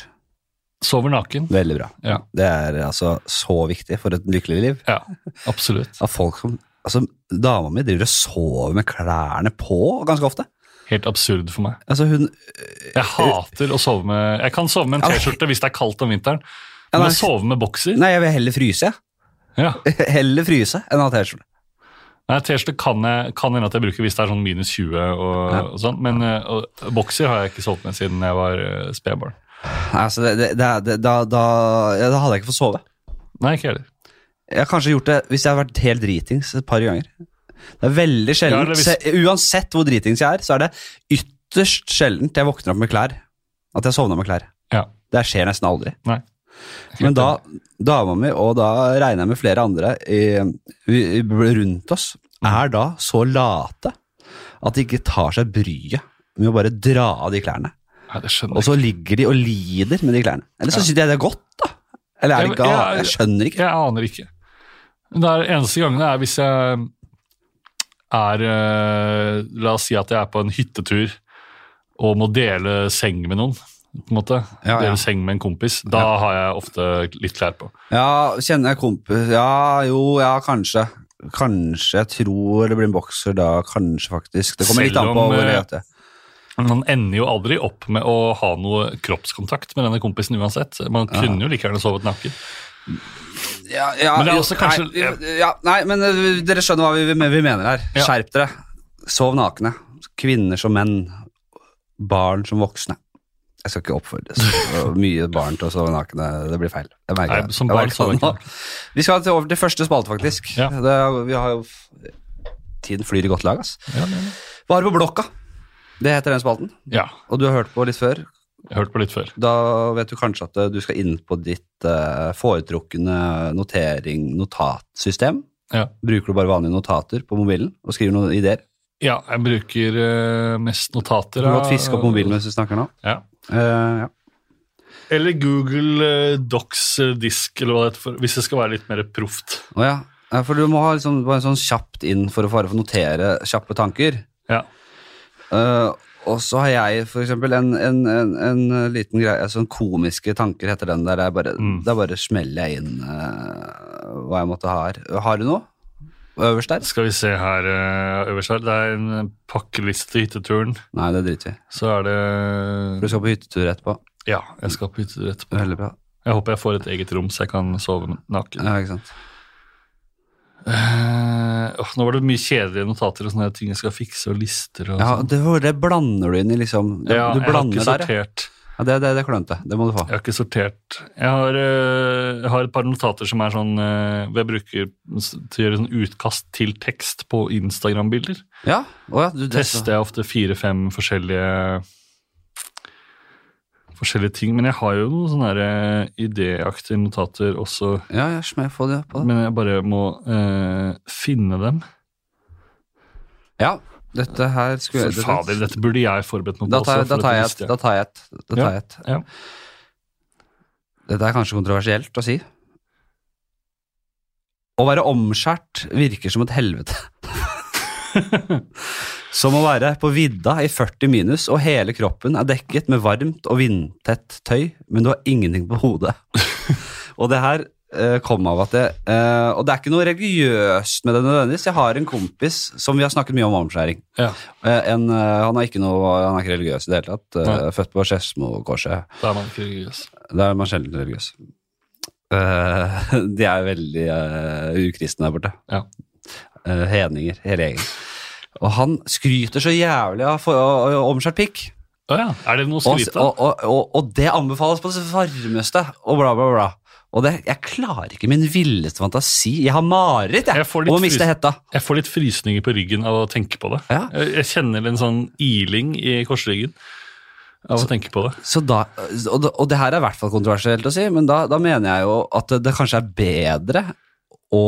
Sover naken. Veldig bra. Ja. Det er altså så viktig for et lykkelig liv. Ja, absolutt. At folk som Altså, dama mi driver og sover med klærne på ganske ofte. Helt absurd for meg. Altså, hun Jeg hater å sove med Jeg kan sove med en Ja, T-skjorte hvis det er kaldt om vinteren, Ja, men nei. å sove med bokser Nei, jeg vil heller fryse, jeg. <laughs> ja. Heller fryse enn ha T-skjorte. Nei, T-skjorte kan jeg- kan hende at jeg bruker hvis det er sånn minus 20 og, Ja. og sånn, men eh, og, bokser har jeg ikke sovet med siden jeg var eh, spedbarn. Nei, Altså, det, det, det, det, da, da, ja, da hadde jeg ikke fått sove. Nei, ikke heller. Jeg har kanskje gjort det hvis jeg har vært helt dritings et par ganger. Det er veldig Ja, sjeldent. eller hvis- Se- Uansett hvor dritings jeg er, så er det ytterst sjeldent jeg våkner opp med klær. At jeg sovner med klær. Ja. Det skjer nesten aldri. Nei. Men da, dama mi, og da regner jeg med flere andre i, i, i, rundt oss, er da så late at de ikke tar seg bryet med å bare dra av de klærne. Nei, det skjønner Og jeg. så ligger de og lider med de klærne. Eller så Ja. syns de det er godt, da. Eller er det Ja, ikke ja, Jeg skjønner ikke. ikke. Jeg aner ikke. Det er eneste gangene er hvis jeg er eh, La oss si at jeg er på en hyttetur og må dele seng med noen. på en måte. Ja, ja. Dele seng med en kompis. Da har jeg ofte litt klær på. Ja, kjenner jeg kompis Ja, jo, ja, kanskje. Kanskje jeg tror det blir en bokser da, kanskje faktisk. Det kommer Selv litt an på om, hvor eh, jeg er. Man ender jo aldri opp med å ha noe kroppskontakt med denne kompisen uansett. Man kunne jo like gjerne sovet naken. Ja, ja, men det er jo, også kanskje- nei, ja, nei, men eh, dere skjønner hva vi, vi, vi mener her. Ja. Skjerp dere. Sov nakne. Kvinner som menn. Barn som voksne. Jeg skal ikke oppfordre så mye barn til å sove nakne. Det blir feil. Jeg merker Nei, det. som Jeg barn merker sover det jeg ikke nå. Vi skal til over til første spalte, faktisk. Ja. Det, vi har jo Tiden flyr i godt lag, ass. Ja, ja, Vare på blokka. Det heter den spalten. ja. Og du har hørt på litt før. jeg hørte på litt før. Da vet du kanskje at eh, du skal inn på ditt eh, foretrukne notering, notatsystem. Ja, Bruker du bare vanlige notater på mobilen og skriver noen ideer? ja jeg bruker eh, mest Du notater. kan av- godt fiske opp mobilen mens du snakker nå. Ja. Eh, ja. Eller Google eh, Docs eller disk, eller hva det heter, for, hvis det skal være litt mer proft. Å ja. Ja, For du må ha liksom, bare sånn kjapt inn for å bare få notere kjappe tanker. Ja. Eh, og så har jeg for eksempel en, en, en, en liten greie, sånn komiske tanker heter den der, jeg bare, Mm. da bare smeller jeg inn eh, hva jeg måtte ha her. Har du noe? Øverst der? Skal vi se her eh, øverst her. Det er en pakkeliste til hytteturen. Nei, det driter vi i. Så er Du det skal på hyttetur etterpå. Ja, jeg skal på hyttetur etterpå. Veldig bra. Jeg håper jeg får et eget rom så jeg kan sove naken. Ja, ikke sant? Eh, åh, nå var det mye kjedelige notater og sånne ting jeg skal fikse, og lister og Ja, sånn. det, det blander du inn i liksom Du, Ja, du jeg har ikke blander der, ja. sortert. ja. Det, det, det er klønete. Det må du få. Jeg har ikke sortert. Jeg har, eh, jeg har et par notater som er sånn eh, hvor jeg bruker s- til å gjøre sånn utkast til tekst på Instagram-bilder. Ja? Å ja, du det så- Tester jeg ofte fire-fem forskjellige forskjellige ting, Men jeg har jo noen sånne der, eh, idéaktige notater også, Ja, ja, smell få det på. men jeg bare må eh, finne dem. Ja, dette her skulle For fader, dette burde jeg forberedt meg på. Da tar, også, da for tar jeg dette et. visste Da tar jeg et. Da tar jeg et. Ja. Dette er kanskje kontroversielt å si. Å være omskjært virker som et <laughs> helvete. som å være på vidda i 40 minus, og hele kroppen er dekket med varmt og vindtett tøy, men du har ingenting på <laughs> hodet. og det her eh, kom av at det eh, Og det er ikke noe religiøst med det nødvendigvis. Jeg har en kompis som vi har snakket mye om omskjæring. Ja, Eh, en, eh, han, er ikke noe, han er ikke religiøs i det hele tatt. Eh, Nei. født på Skedsmokorset. da er man ikke religiøs. Da er man sjelden religiøs. Eh, <laughs> de er veldig eh, ukristne der borte. Ja. Eh, hedninger, hele gjengen. Og han skryter så jævlig av for- av- av omskjært pikk. Å ja. Er det noe å Og, skryte av? og, og, og, og det anbefales på det varmeste, og bla, bla, bla. Og det, jeg klarer ikke min villeste fantasi. Jeg har mareritt, jeg, Jeg får litt om å miste frys- hetta. Jeg får litt frysninger på ryggen av å tenke på det. Ja. Jeg jeg kjenner en sånn iling i korsryggen av å tenke på det. Så da, og, det- og det her er i hvert fall kontroversielt å si, men da, da mener jeg jo at det, det kanskje er bedre å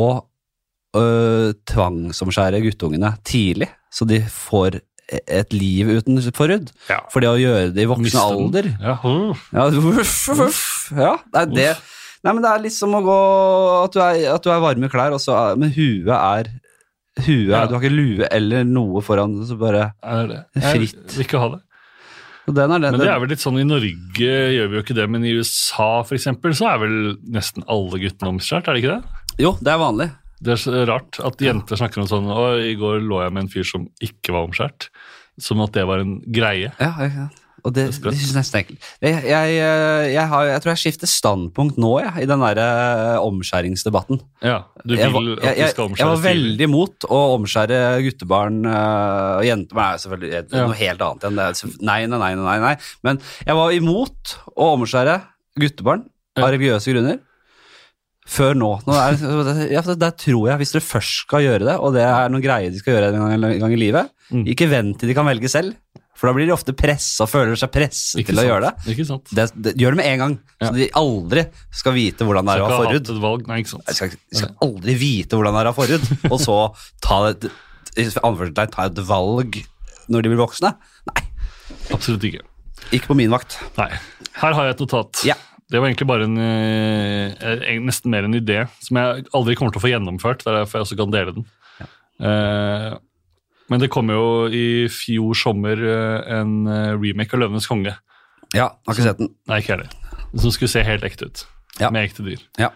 øh, tvangsomskjære guttungene tidlig, så de får e- et liv uten forhud. Ja. For det å gjøre det i voksen Miste den. Sånn alder Ja. uh, ja, <laughs> uff, uff, uff. ja, det er det. Nei, men det er litt som å gå At du er, at du er varm i klær, og så er, men huet er Huet, Ja. er- Du har ikke lue eller noe foran, så bare Er det. Jeg Fritt. vil ikke ha det. og Den er den. Men det er vel litt sånn i Norge gjør vi jo ikke det, men i USA for eksempel, så er vel nesten alle guttene omskjært, er det ikke det? Jo, det er vanlig. Det er så rart at jenter snakker om sånn Å, i går lå jeg med en fyr som ikke var omskjært. Som at det var en greie. Ja, ikke sant. Og det, Det er det sprøtt. synes jeg nesten er ekkelt. Jeg, jeg, eh, jeg, har, jeg tror jeg skifter standpunkt nå, jeg, i den derre omskjæringsdebatten. Ja, Du vil Jeg, var- at de jeg, jeg, skal jeg var omskjæres tidlig. veldig imot å omskjære guttebarn øh, og jenter. Men det er jo selvfølgelig det er Ja. noe helt annet enn det. Nei, nei, nei, nei, nei. Men jeg var imot å omskjære guttebarn Ja. av religiøse grunner. Før nå. nå er, det- ja, for der tror jeg, hvis dere først skal gjøre det, og det er noen greier de skal gjøre en gang, en gang i livet, Mm. ikke vent til de kan velge selv. For da blir de ofte pressa og føler seg presset Ikke til å sant? gjøre det. Ikke sant? Det, det. Gjør det med en gang, Ja. så de aldri skal vite hvordan det er å ha Skal ikke forhud. hatt et valg. Nei, ikke sant. Jeg skal, jeg skal aldri vite hvordan det er å ha forhud, og så ta et, i anførselstegn, ta et valg når de blir voksne. Nei, Absolutt ikke. ikke på min vakt. Nei. Her har jeg et notat. Ja. Det var egentlig bare en, eh, eh, nesten mer en idé som jeg aldri kommer til å få gjennomført. Det er derfor jeg også kan dele den. Eh, men det kom jo i fjor sommer eh, en eh, remake av 'Løvenes konge'. Ja, har ikke sett den. Nei, ikke heller. Som skulle se helt ekte ut. Ja. Med ekte dyr. Ja.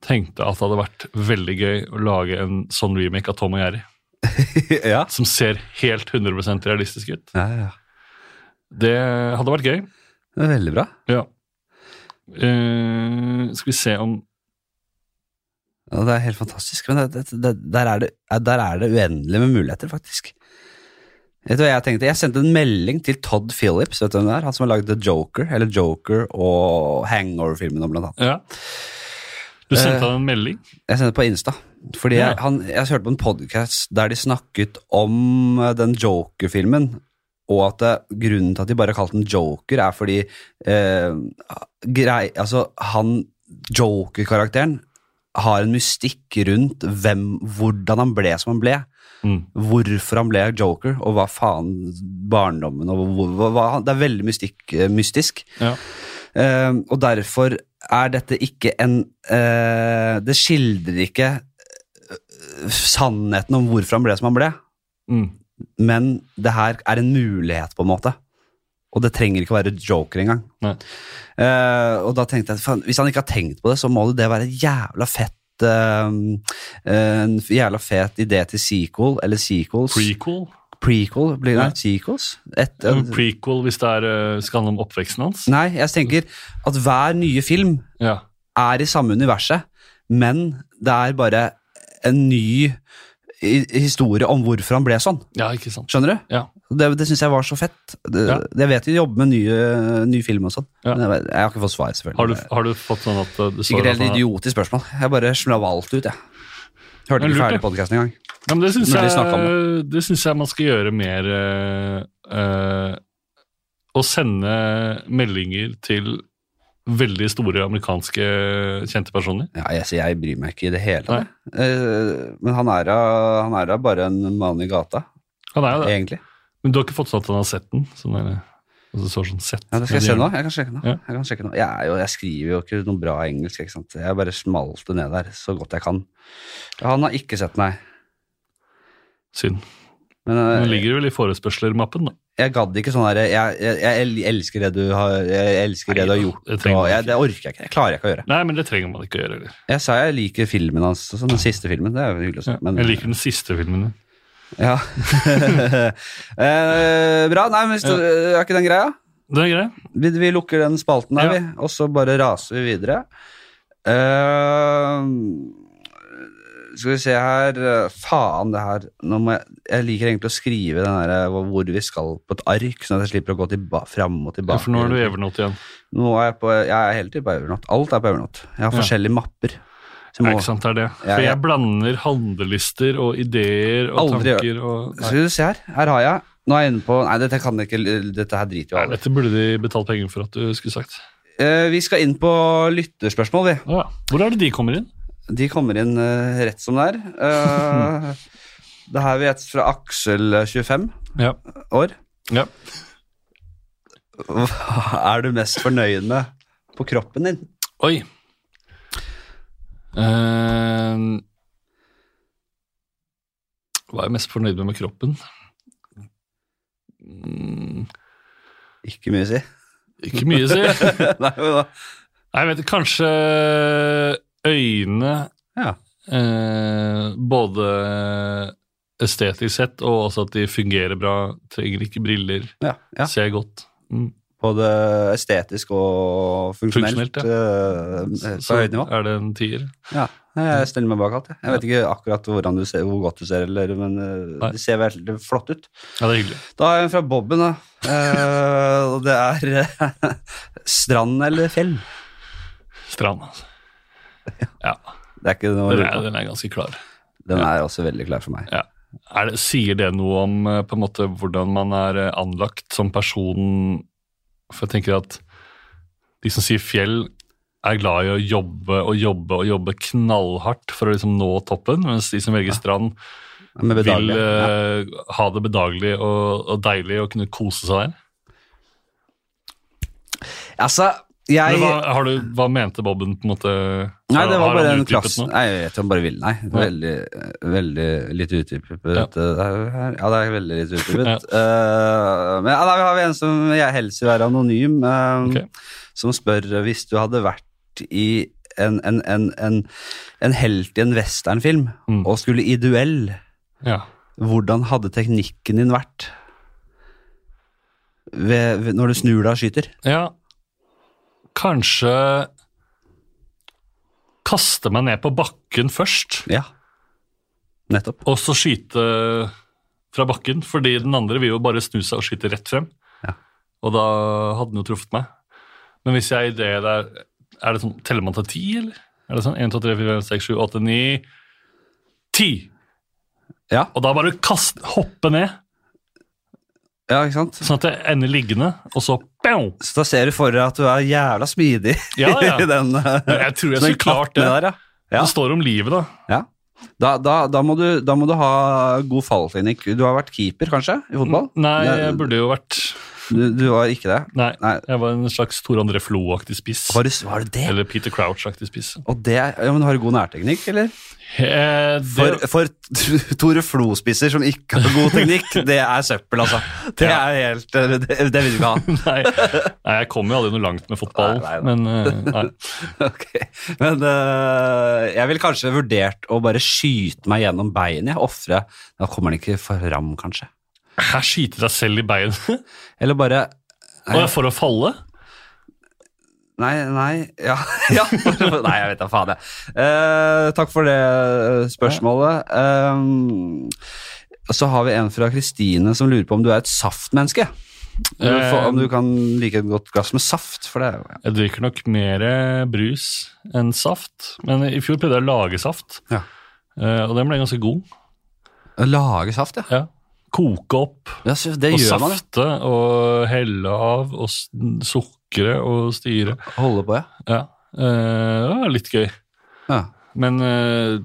Tenkte at det hadde vært veldig gøy å lage en sånn remake av Tom og Jerry. <laughs> ja. Som ser helt 100 realistisk ut. Ja, ja. Det hadde vært gøy. Det er veldig bra. Ja. Eh, skal vi se om Ja, det er helt fantastisk, men det, det, det, der, er det, ja, der er det uendelig med muligheter, faktisk. Vet du hva jeg tenkte? Jeg sendte en melding til Todd Phillips, vet du hvem det er? Han som har laget The Joker, eller Joker og Hangover-filmene, blant annet. Ja. Du Eh, sendte han en melding? Jeg sender på Insta. Fordi jeg, Ja. han, jeg hørte på en podcast der de snakket om eh, den Joker-filmen, og at eh, grunnen til at de bare kalte den Joker, er fordi eh, grei, altså, han Joker-karakteren har en mystikk rundt hvem, hvordan han ble som han ble. Mm. Hvorfor han ble Joker, og hva faen barndommen og hvor, hva, hva, Det er veldig mystikk, eh, mystisk. Ja. Eh, og derfor er dette ikke en eh, Det skildrer ikke eh, sannheten om hvorfor han ble som han ble, Mm. men det her er en mulighet, på en måte. Og det trenger ikke være joker engang. Nei. Eh, og da tenkte jeg, faen, hvis han ikke har tenkt på det, så må det det være et jævla fett eh, en jævla fet idé til sequel, eller sequels Prequel? Prequel? Blir det Ja. nei, sequels? Et, En prequel hvis det er, eh, skal handle om oppveksten hans? nei, jeg tenker at hver nye film Ja. er i samme universet, men det er bare en ny i- historie om hvorfor han ble sånn. ja, ikke sant. Skjønner du? Ja. Det, det syns jeg var så fett. Det, Ja. Jeg vet jo de jobber med nye, ny film og sånn. Ja. Men Jeg, jeg har ikke fått svar, selvfølgelig. Har, du, har du fått sånn at eh, du så Sikkert at helt han- idiotisk spørsmål. Jeg bare slava alt ut, jeg. Hørte Men ikke lurt, ferdig det. podkasten engang. ja, men Det syns når vi jeg, snakker det synes jeg man skal gjøre mer eh, eh, Å sende meldinger til veldig store amerikanske kjente personer. Ja, jeg, så jeg bryr meg ikke i det hele Nei. tatt. Eh, men han er, da- han er da bare en mann i gata, Han er jo det. egentlig. Men du har ikke fått sånn at han har sett den? Sånn, der, altså, det står sånn sett. Ja, det skal jeg se Men nå. det- Jeg kan sjekke nå. Ja. Jeg, kan sjekke nå. Jeg, er jo, jeg skriver jo ikke noe bra engelsk, ikke sant. Jeg bare smalt det ned der så godt jeg kan. Ja, Han har ikke sett meg. Synd. Men eh, Men det ligger vel i forespørsler-mappen, da. jeg gadd ikke sånn her jeg, jeg, jeg el- elsker det du har, jeg elsker det du har Nei, gjort. det trenger og man jeg, det orker jeg ikke. Jeg klarer jeg ikke å gjøre. Nei, men det trenger man ikke å gjøre. Eller? Jeg sa jeg liker filmen hans, og sånn, den siste filmen. Det er jo hyggelig å si. men- jeg liker den siste filmen din. Ja. <laughs> eh, bra. Nei, men hvis du- er ikke den greia? Det er grei. Vi, vi lukker den spalten her, Ja. vi, og så bare raser vi videre. Eh, Skal vi se her eh, Faen, det her Nå må jeg, jeg liker egentlig å skrive den her, eh, hvor hvor vi skal på et ark, sånn at jeg slipper å gå tilba fram og Ja, tilbake. for nå er du Evernote igjen. Nå er jeg på Jeg er hele tiden på Evernote. Alt er på Evernote. Jeg har Ja. forskjellige mapper. Så Ja, jeg må, ikke sant, det er det. Ja, For ja. jeg blander handlelister og ideer og Aldri gjør tanker og Nei, skal vi se her. Her har jeg Nå er jeg inne på Nei, dette kan jeg ikke Dette her driter jo Nei, alle i. dette burde de betalt penger for at du skulle sagt. Eh, Vi skal inn på lytterspørsmål, vi. Å Ja. Hvor er det de kommer inn? De kommer inn eh, rett som det er. <laughs> Eh, det her vet fra Aksel eh, 25 Ja. år. ja. Hva er du mest fornøyd med på kroppen din? Oi. Eh, hva er jeg mest fornøyd med med kroppen? Mm, Ikke mye å si. ikke mye, si. <laughs> Nei, <laughs> Nei, men da. jeg vet ikke, kanskje øynene Ja. eh, Både estetisk sett og også at de fungerer bra. Trenger ikke briller, Ja, ja. ser godt. Mm. Både estetisk og funksjonelt. Funksjonelt, eh, på høyt nivå. er det en tier. Ja, jeg stiller meg bak alt. Jeg, jeg vet ikke akkurat hvordan du ser, hvor godt du ser, eller, men eh, Nei. det ser veldig flott ut. Ja, det er hyggelig. Da er jeg en fra Bobben, da. Eh, og det er eh, <laughs> strand eller fjell. Strand, altså. <laughs> Ja, Det er ikke noe å den lure er, på. den er ganske klar. Den er også veldig klar for meg. Ja. Er det, sier det noe om eh, på en måte hvordan man er eh, anlagt som person? For jeg tenker at de som sier fjell, er glad i å jobbe og jobbe og jobbe knallhardt for å liksom nå toppen, mens de som velger strand, Med vil bedagelig. Ja. eh, ha det bedagelig og, og deilig og kunne kose seg der. Altså, Eller jeg hva, har du, hva mente Bobben? på en måte? Nei, Har- det var har bare han en utdypet klass... noe? Nei, jeg vet han bare vil, nei. Veldig, eh, veldig litt utdypet. Ja. dette her. Ja, det er veldig litt utdypet. Eh, men ja, da har vi en som jeg helst vil være anonym, eh, Ok. som spør eh, hvis du hadde vært i en, en, en, en, en helt i en westernfilm Mm. og skulle i duell, Ja. hvordan hadde teknikken din vært? Ved, ved, når du snur deg og skyter? Ja, kanskje kaste meg ned på bakken først, Ja. Nettopp. og så skyte fra bakken, fordi den andre vil jo bare snu seg og skyte rett frem. Ja. Og da hadde den jo truffet meg. Men hvis jeg i det der er det sånn, Teller man til ti, eller? Er det sånn 1, 2, 3, 4, 5, 6, 7, 8, 9 10! Ja. Og da bare kast, hoppe ned, Ja, ikke sant? sånn at jeg ender liggende, og så bam! Så da ser du for deg at du er jævla smidig Ja, <laughs> ja. i den eh, Men Jeg tror jeg skulle klart det. Der, ja. Ja. Det står om livet, da. Ja. Da, da, da, må du, da må du ha god fallteknikk. Du har vært keeper, kanskje, i fotball? Mm, Nei, Nei, jeg burde jo vært Du, du var ikke det? Nei, Nei. jeg var en slags Tor André Flo-aktig spiss. Var du, var du det? Eller Peter Crouch-aktig spiss. Og det ja, men har du god nærteknikk, eller? Eh, For, <laughs> det, for Tore Flo-spisser som ikke har god teknikk, det er søppel, altså. Det Ja. er helt eh, Det, det vil du ikke ha. <laughs> nei, nei, jeg kom jo aldri noe langt med fotball. Nei, nei, nei. Men eh, nei. <laughs> Ok. Men eh, jeg ville kanskje vurdert å bare skyte meg gjennom beinet. Jeg ofre Da kommer den ikke fram, kanskje. her skyter deg selv i beinet. <laughs> Eller bare Og jeg for å falle. Nei, nei Ja. <laughs> ja. nei, jeg vet da faen, jeg. Eh, takk for det eh, spørsmålet. Um, og så har vi en fra Kristine som lurer på om du er et saftmenneske. Om du får- Om du kan like et godt glass med saft. For det er jo- Jeg drikker nok mer eh, brus enn saft. Men i fjor prøvde jeg å lage saft, Ja. Eh, og den ble ganske god. Å lage saft, ja. Ja. Koke opp ja så det og gjør man, ja. safte og helle av og s- sukre og styre. Holde på, ja. Ja. Eh, det var litt gøy. ja. Men eh,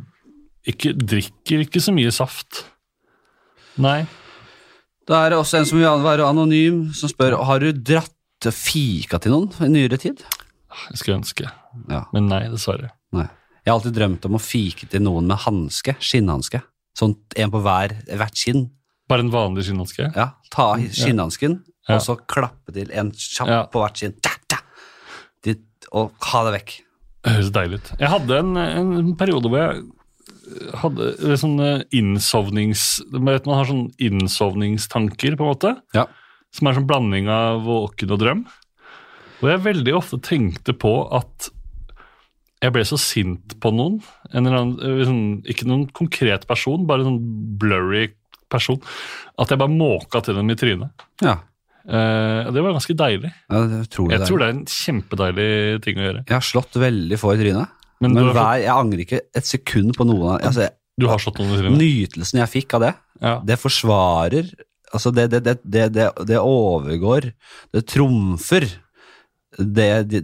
ikke, drikker ikke så mye saft. Nei. Da er det også en som vil være anonym, som spør har du dratt og fika til noen i nyere tid. Jeg skulle ønske. Ja. Men nei, dessverre. Nei. Jeg har alltid drømt om å fike til noen med hanske. Skinnhanske. Sånn en på hver, hvert kinn. Bare en vanlig skinnhanske? Ja, ta i skinnhansken, Ja. og så klappe til en kjapp Ja. på hvert kinn. Ta, ta. Dit, og ha det vekk. Det høres deilig ut. Jeg hadde en, en periode hvor jeg hadde litt sånn eh, innsovnings... Man vet man har sånn innsovningstanker, på en måte. Ja. Som er sånn blanding av våken og drøm. Og jeg veldig ofte tenkte på at jeg ble så sint på noen. En eller annen, eh, sånn, ikke noen konkret person, bare en sånn blurry person. At jeg bare måka til dem i trynet. Ja, Eh, og det var ganske deilig. ja det er utrolig Jeg deilig. tror det er en kjempedeilig ting å gjøre. Jeg har slått veldig få i trynet, men, Men, du, har, fått- hver, jeg angrer ikke et sekund på noen av altså, du har slått noen i trynet? Nytelsen jeg fikk av det, Ja. det forsvarer Altså, det, det, det, det, det, det overgår Det trumfer det, det,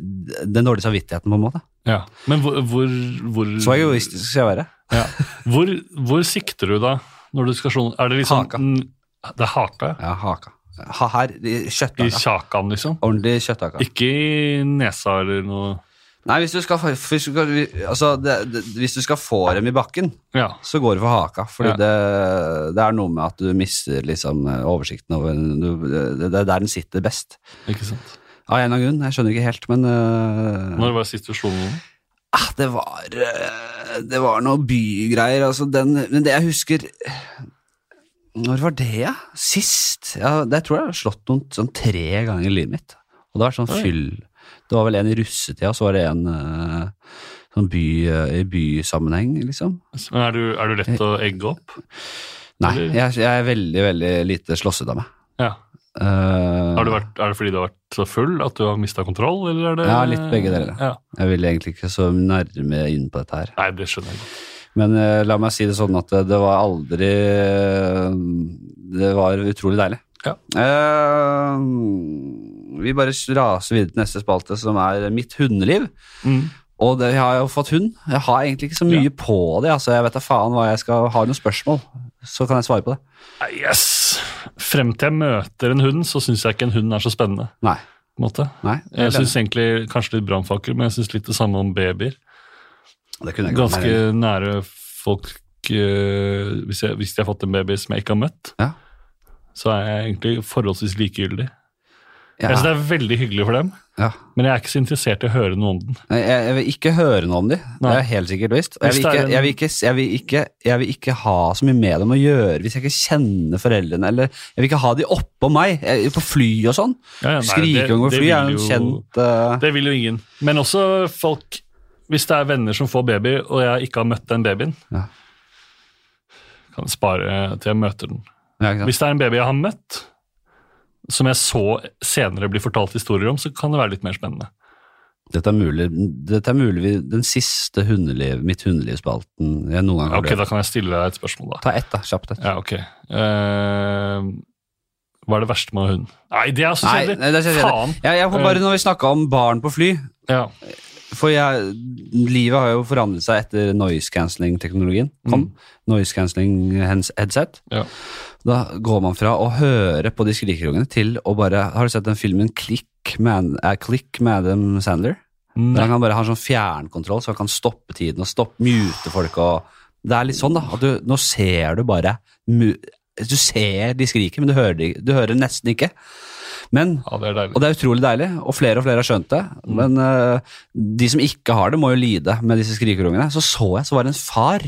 den dårlige samvittigheten, på en måte. ja. Men hvor, hvor, hvor Så egoistisk skal jeg være. <laughs> Ja. Hvor, hvor sikter du da? Når du skal slå, er det liksom Haka. N- Det er haka? Ja, haka. Ha, her, i I kjøtthaka. kjakan, liksom? Ordentlig kjøtthaka. Ikke i nesa eller noe Nei, hvis du skal, få- hvis du skal, altså, det, det, hvis du skal få dem i bakken, Ja. så går det for haka. Fordi Ja. det, det er noe med at du mister liksom oversikten over du, Det det er der den sitter best. Ikke sant. Av en eller annen grunn. Jeg skjønner ikke helt, men øh, Når var det sist du slo noen? ah, Det var øh, Det var noe bygreier. Altså, den, men det jeg husker Når var det, ja? Sist? Ja, det, jeg tror jeg har slått noen sånn tre ganger i livet mitt. Og det har vært sånn Oi. fyll Det var vel en i russetida, og så var det en øh, sånn by, i bysammenheng, liksom. Men er, du, er du lett å egge opp? Nei, Eller- jeg, jeg er veldig, veldig lite slåssedame. Ja. Eh, Har du vært, er det fordi du har vært så full at du har mista kontroll, eller er det Ja, litt begge deler. Ja. Jeg vil egentlig ikke så nærme inn på dette her. Nei, det skjønner jeg ikke. Men eh, la meg si det sånn at det, det var aldri eh, Det var utrolig deilig. Ja. Eh, vi bare raser videre til neste spalte, som er mitt hundeliv. Mm. Og det, jeg har jo fått hund. Jeg har egentlig ikke så mye på det. Altså, jeg vet da faen hva jeg skal Har du noen spørsmål, så kan jeg svare på det. Nei, Yes! Frem til jeg møter en hund, så syns jeg ikke en hund er så spennende. Nei. på en måte. nei Jeg syns egentlig kanskje litt brannfakkel, men jeg syns litt det samme om babyer. det kunne jeg ikke vært Ganske med i. nære folk eh, hvis, jeg, hvis de har fått en baby som jeg ikke har møtt, Ja. så er jeg egentlig forholdsvis likegyldig. Ja, Jeg synes det er veldig hyggelig for dem, ja. men jeg er ikke så interessert i å høre noe om den. Nei, Jeg, jeg vil ikke høre noe om de. Det Nei. er helt sikkert visst. Og jeg Hvis vil, det er ikke, en- jeg, vil ikke, jeg, vil ikke, jeg vil ikke ha så mye med dem å gjøre hvis jeg ikke kjenner foreldrene. Eller jeg vil ikke ha de oppå meg, jeg, på fly og sånn. Ja, ja, nei, det- Skriking over det fly er vil jo en jo- kjent eh, Det vil jo ingen. Men også folk Hvis det er venner som får baby, og jeg ikke har møtt den babyen, Ja. kan jeg spare til jeg møter den. ja, ikke sant? Hvis det er en baby jeg har møtt, som jeg så senere blir fortalt historier om, så kan det være litt mer spennende. Dette er mulig, dette er mulig vi- den siste hundeliv, mitt hundelivsspalten jeg noen gang har Ok, okay, Da kan jeg stille deg et spørsmål, da. Ta ett, da. Kjapt ett. Ja, ok. Eh, hva er det verste med å ha hund? Nei, det er så Nei, kjedelig! nei, det er så kjedelig. Faen! Eh. Jeg, jeg får bare når vi snakka om barn på fly Ja. For jeg, livet har jo forandret seg etter noise cancelling-teknologien kom. Noise cancelling hens- headset. Mm. Ja. Da går man fra å høre på de skrikerungene til å bare Har du sett den filmen Click med, eh, Click med Adam Sandler? Der Nei. han kan bare ha en sånn fjernkontroll, så han kan stoppe tiden og stoppe, mute folk og Det er litt sånn, da. At du, nå ser du bare mu- Du ser de skriker, men du hører, de, du hører nesten ikke. Men Ja, det er og deilig. det er utrolig deilig, og flere og flere har skjønt det. Mm. Men eh, de som ikke har det, må jo lide med disse skrikerungene. Så så jeg så var det en far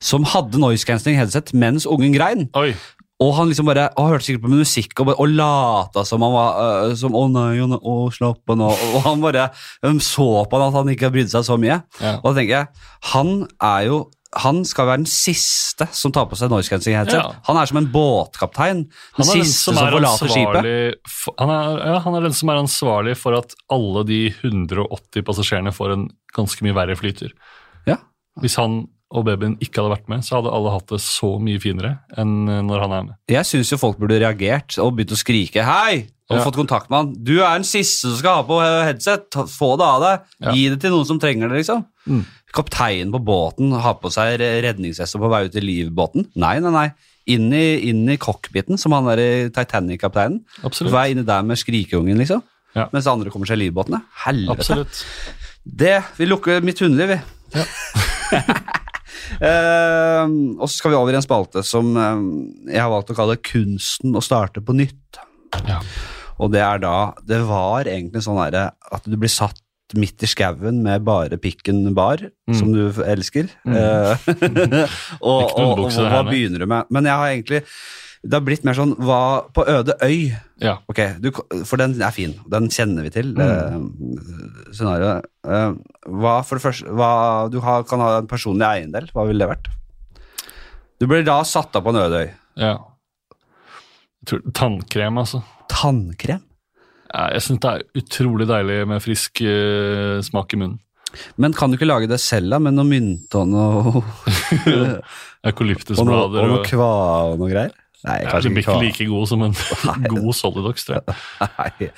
som hadde noise cancelling headset mens ungen grein. Oi! Og han liksom bare, og hørte sikkert på musikk og, bare- og lata som han var eh, som, Å nei, å nei, å slapp av nå. Og han bare um, så på han at han ikke brydde seg så mye. Ja. Og da tenker jeg, han er jo han skal være den siste som tar på seg noise cancelling headset. Ja. Han er som en båtkaptein. Den Han er, den siste som som, er forlater skipet. ansvarlig for, han, er, ja, han er den som er ansvarlig for at alle de 180 passasjerene får en ganske mye verre flytur. Ja. Hvis han og babyen ikke hadde vært med, så hadde alle hatt det så mye finere enn når han er med. Jeg syns jo folk burde reagert og begynt å skrike 'hei' og Ja. fått kontakt med han. 'Du er den siste som skal ha på eh, headset. Ta- Få det av deg. Ja. Gi det til noen som trenger det', liksom. Mm. Kapteinen på båten har på seg re- redningsvest og på vei ut i livbåten. Nei, nei, nei. Inn i, inn i cockpiten, som han der i Titanic-kapteinen. På Absolutt. vei inni der med skrikeungen, liksom. Ja. Mens andre kommer seg i livbåtene. Helvete. Absolutt. Det, Vi lukker mitt hundeliv, vi. <laughs> Ja. Eh, og så skal vi over i en spalte som eh, jeg har valgt å kalle 'Kunsten å starte på nytt'. Ja. Og det er da Det var egentlig sånn herre at du blir satt midt i skauen med bare pikken bar, Mm. som du elsker. Mm. Eh, <laughs> og, Ikke noen og, og, bukse der, hva nei. begynner du med? Men jeg har egentlig Det har blitt mer sånn hva På øde øy. Ja. Ok, du, For den er fin. Den kjenner vi til, Mm. eh, scenarioet. Eh, hva for det første hva, Du har, kan ha en personlig eiendel. Hva ville det vært? Du blir da satt opp på en øde øy. ja. Jeg tror- Tannkrem, altså. Tannkrem? Ja, Jeg syns det er utrolig deilig med frisk eh, smak i munnen. Men kan du ikke lage det selv, da? Med noe mynte og noe <laughs> Og noe, og Eukalyptusblader noe kva og noe greier? Nei, Ja, kanskje Den blir ikke kva. ikke like god som en <laughs> Nei. <laughs> god Solidox, tror jeg. <laughs> Nei.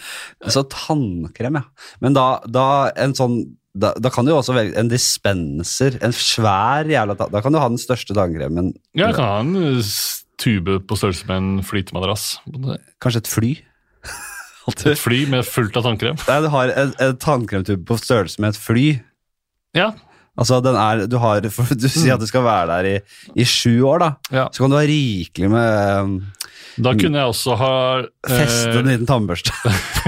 Så tannkrem, ja. Men da, da en sånn da, da kan du jo også velge en dispenser, en svær jævla tann... Da kan du ha den største tannkremen. Ja, jeg kan ha en eh, s- tube på størrelse med en flytemadrass. Kanskje et fly? Et fly med fullt av tannkrem. Nei, du har en, en tannkremtube på størrelse med et fly. Ja, Altså, den er Du, har, <laughs> for du sier at du skal være der i, i sju år, da. ja. Så kan du ha rikelig med um, Da kunne jeg også ha eh, Feste en liten tannbørste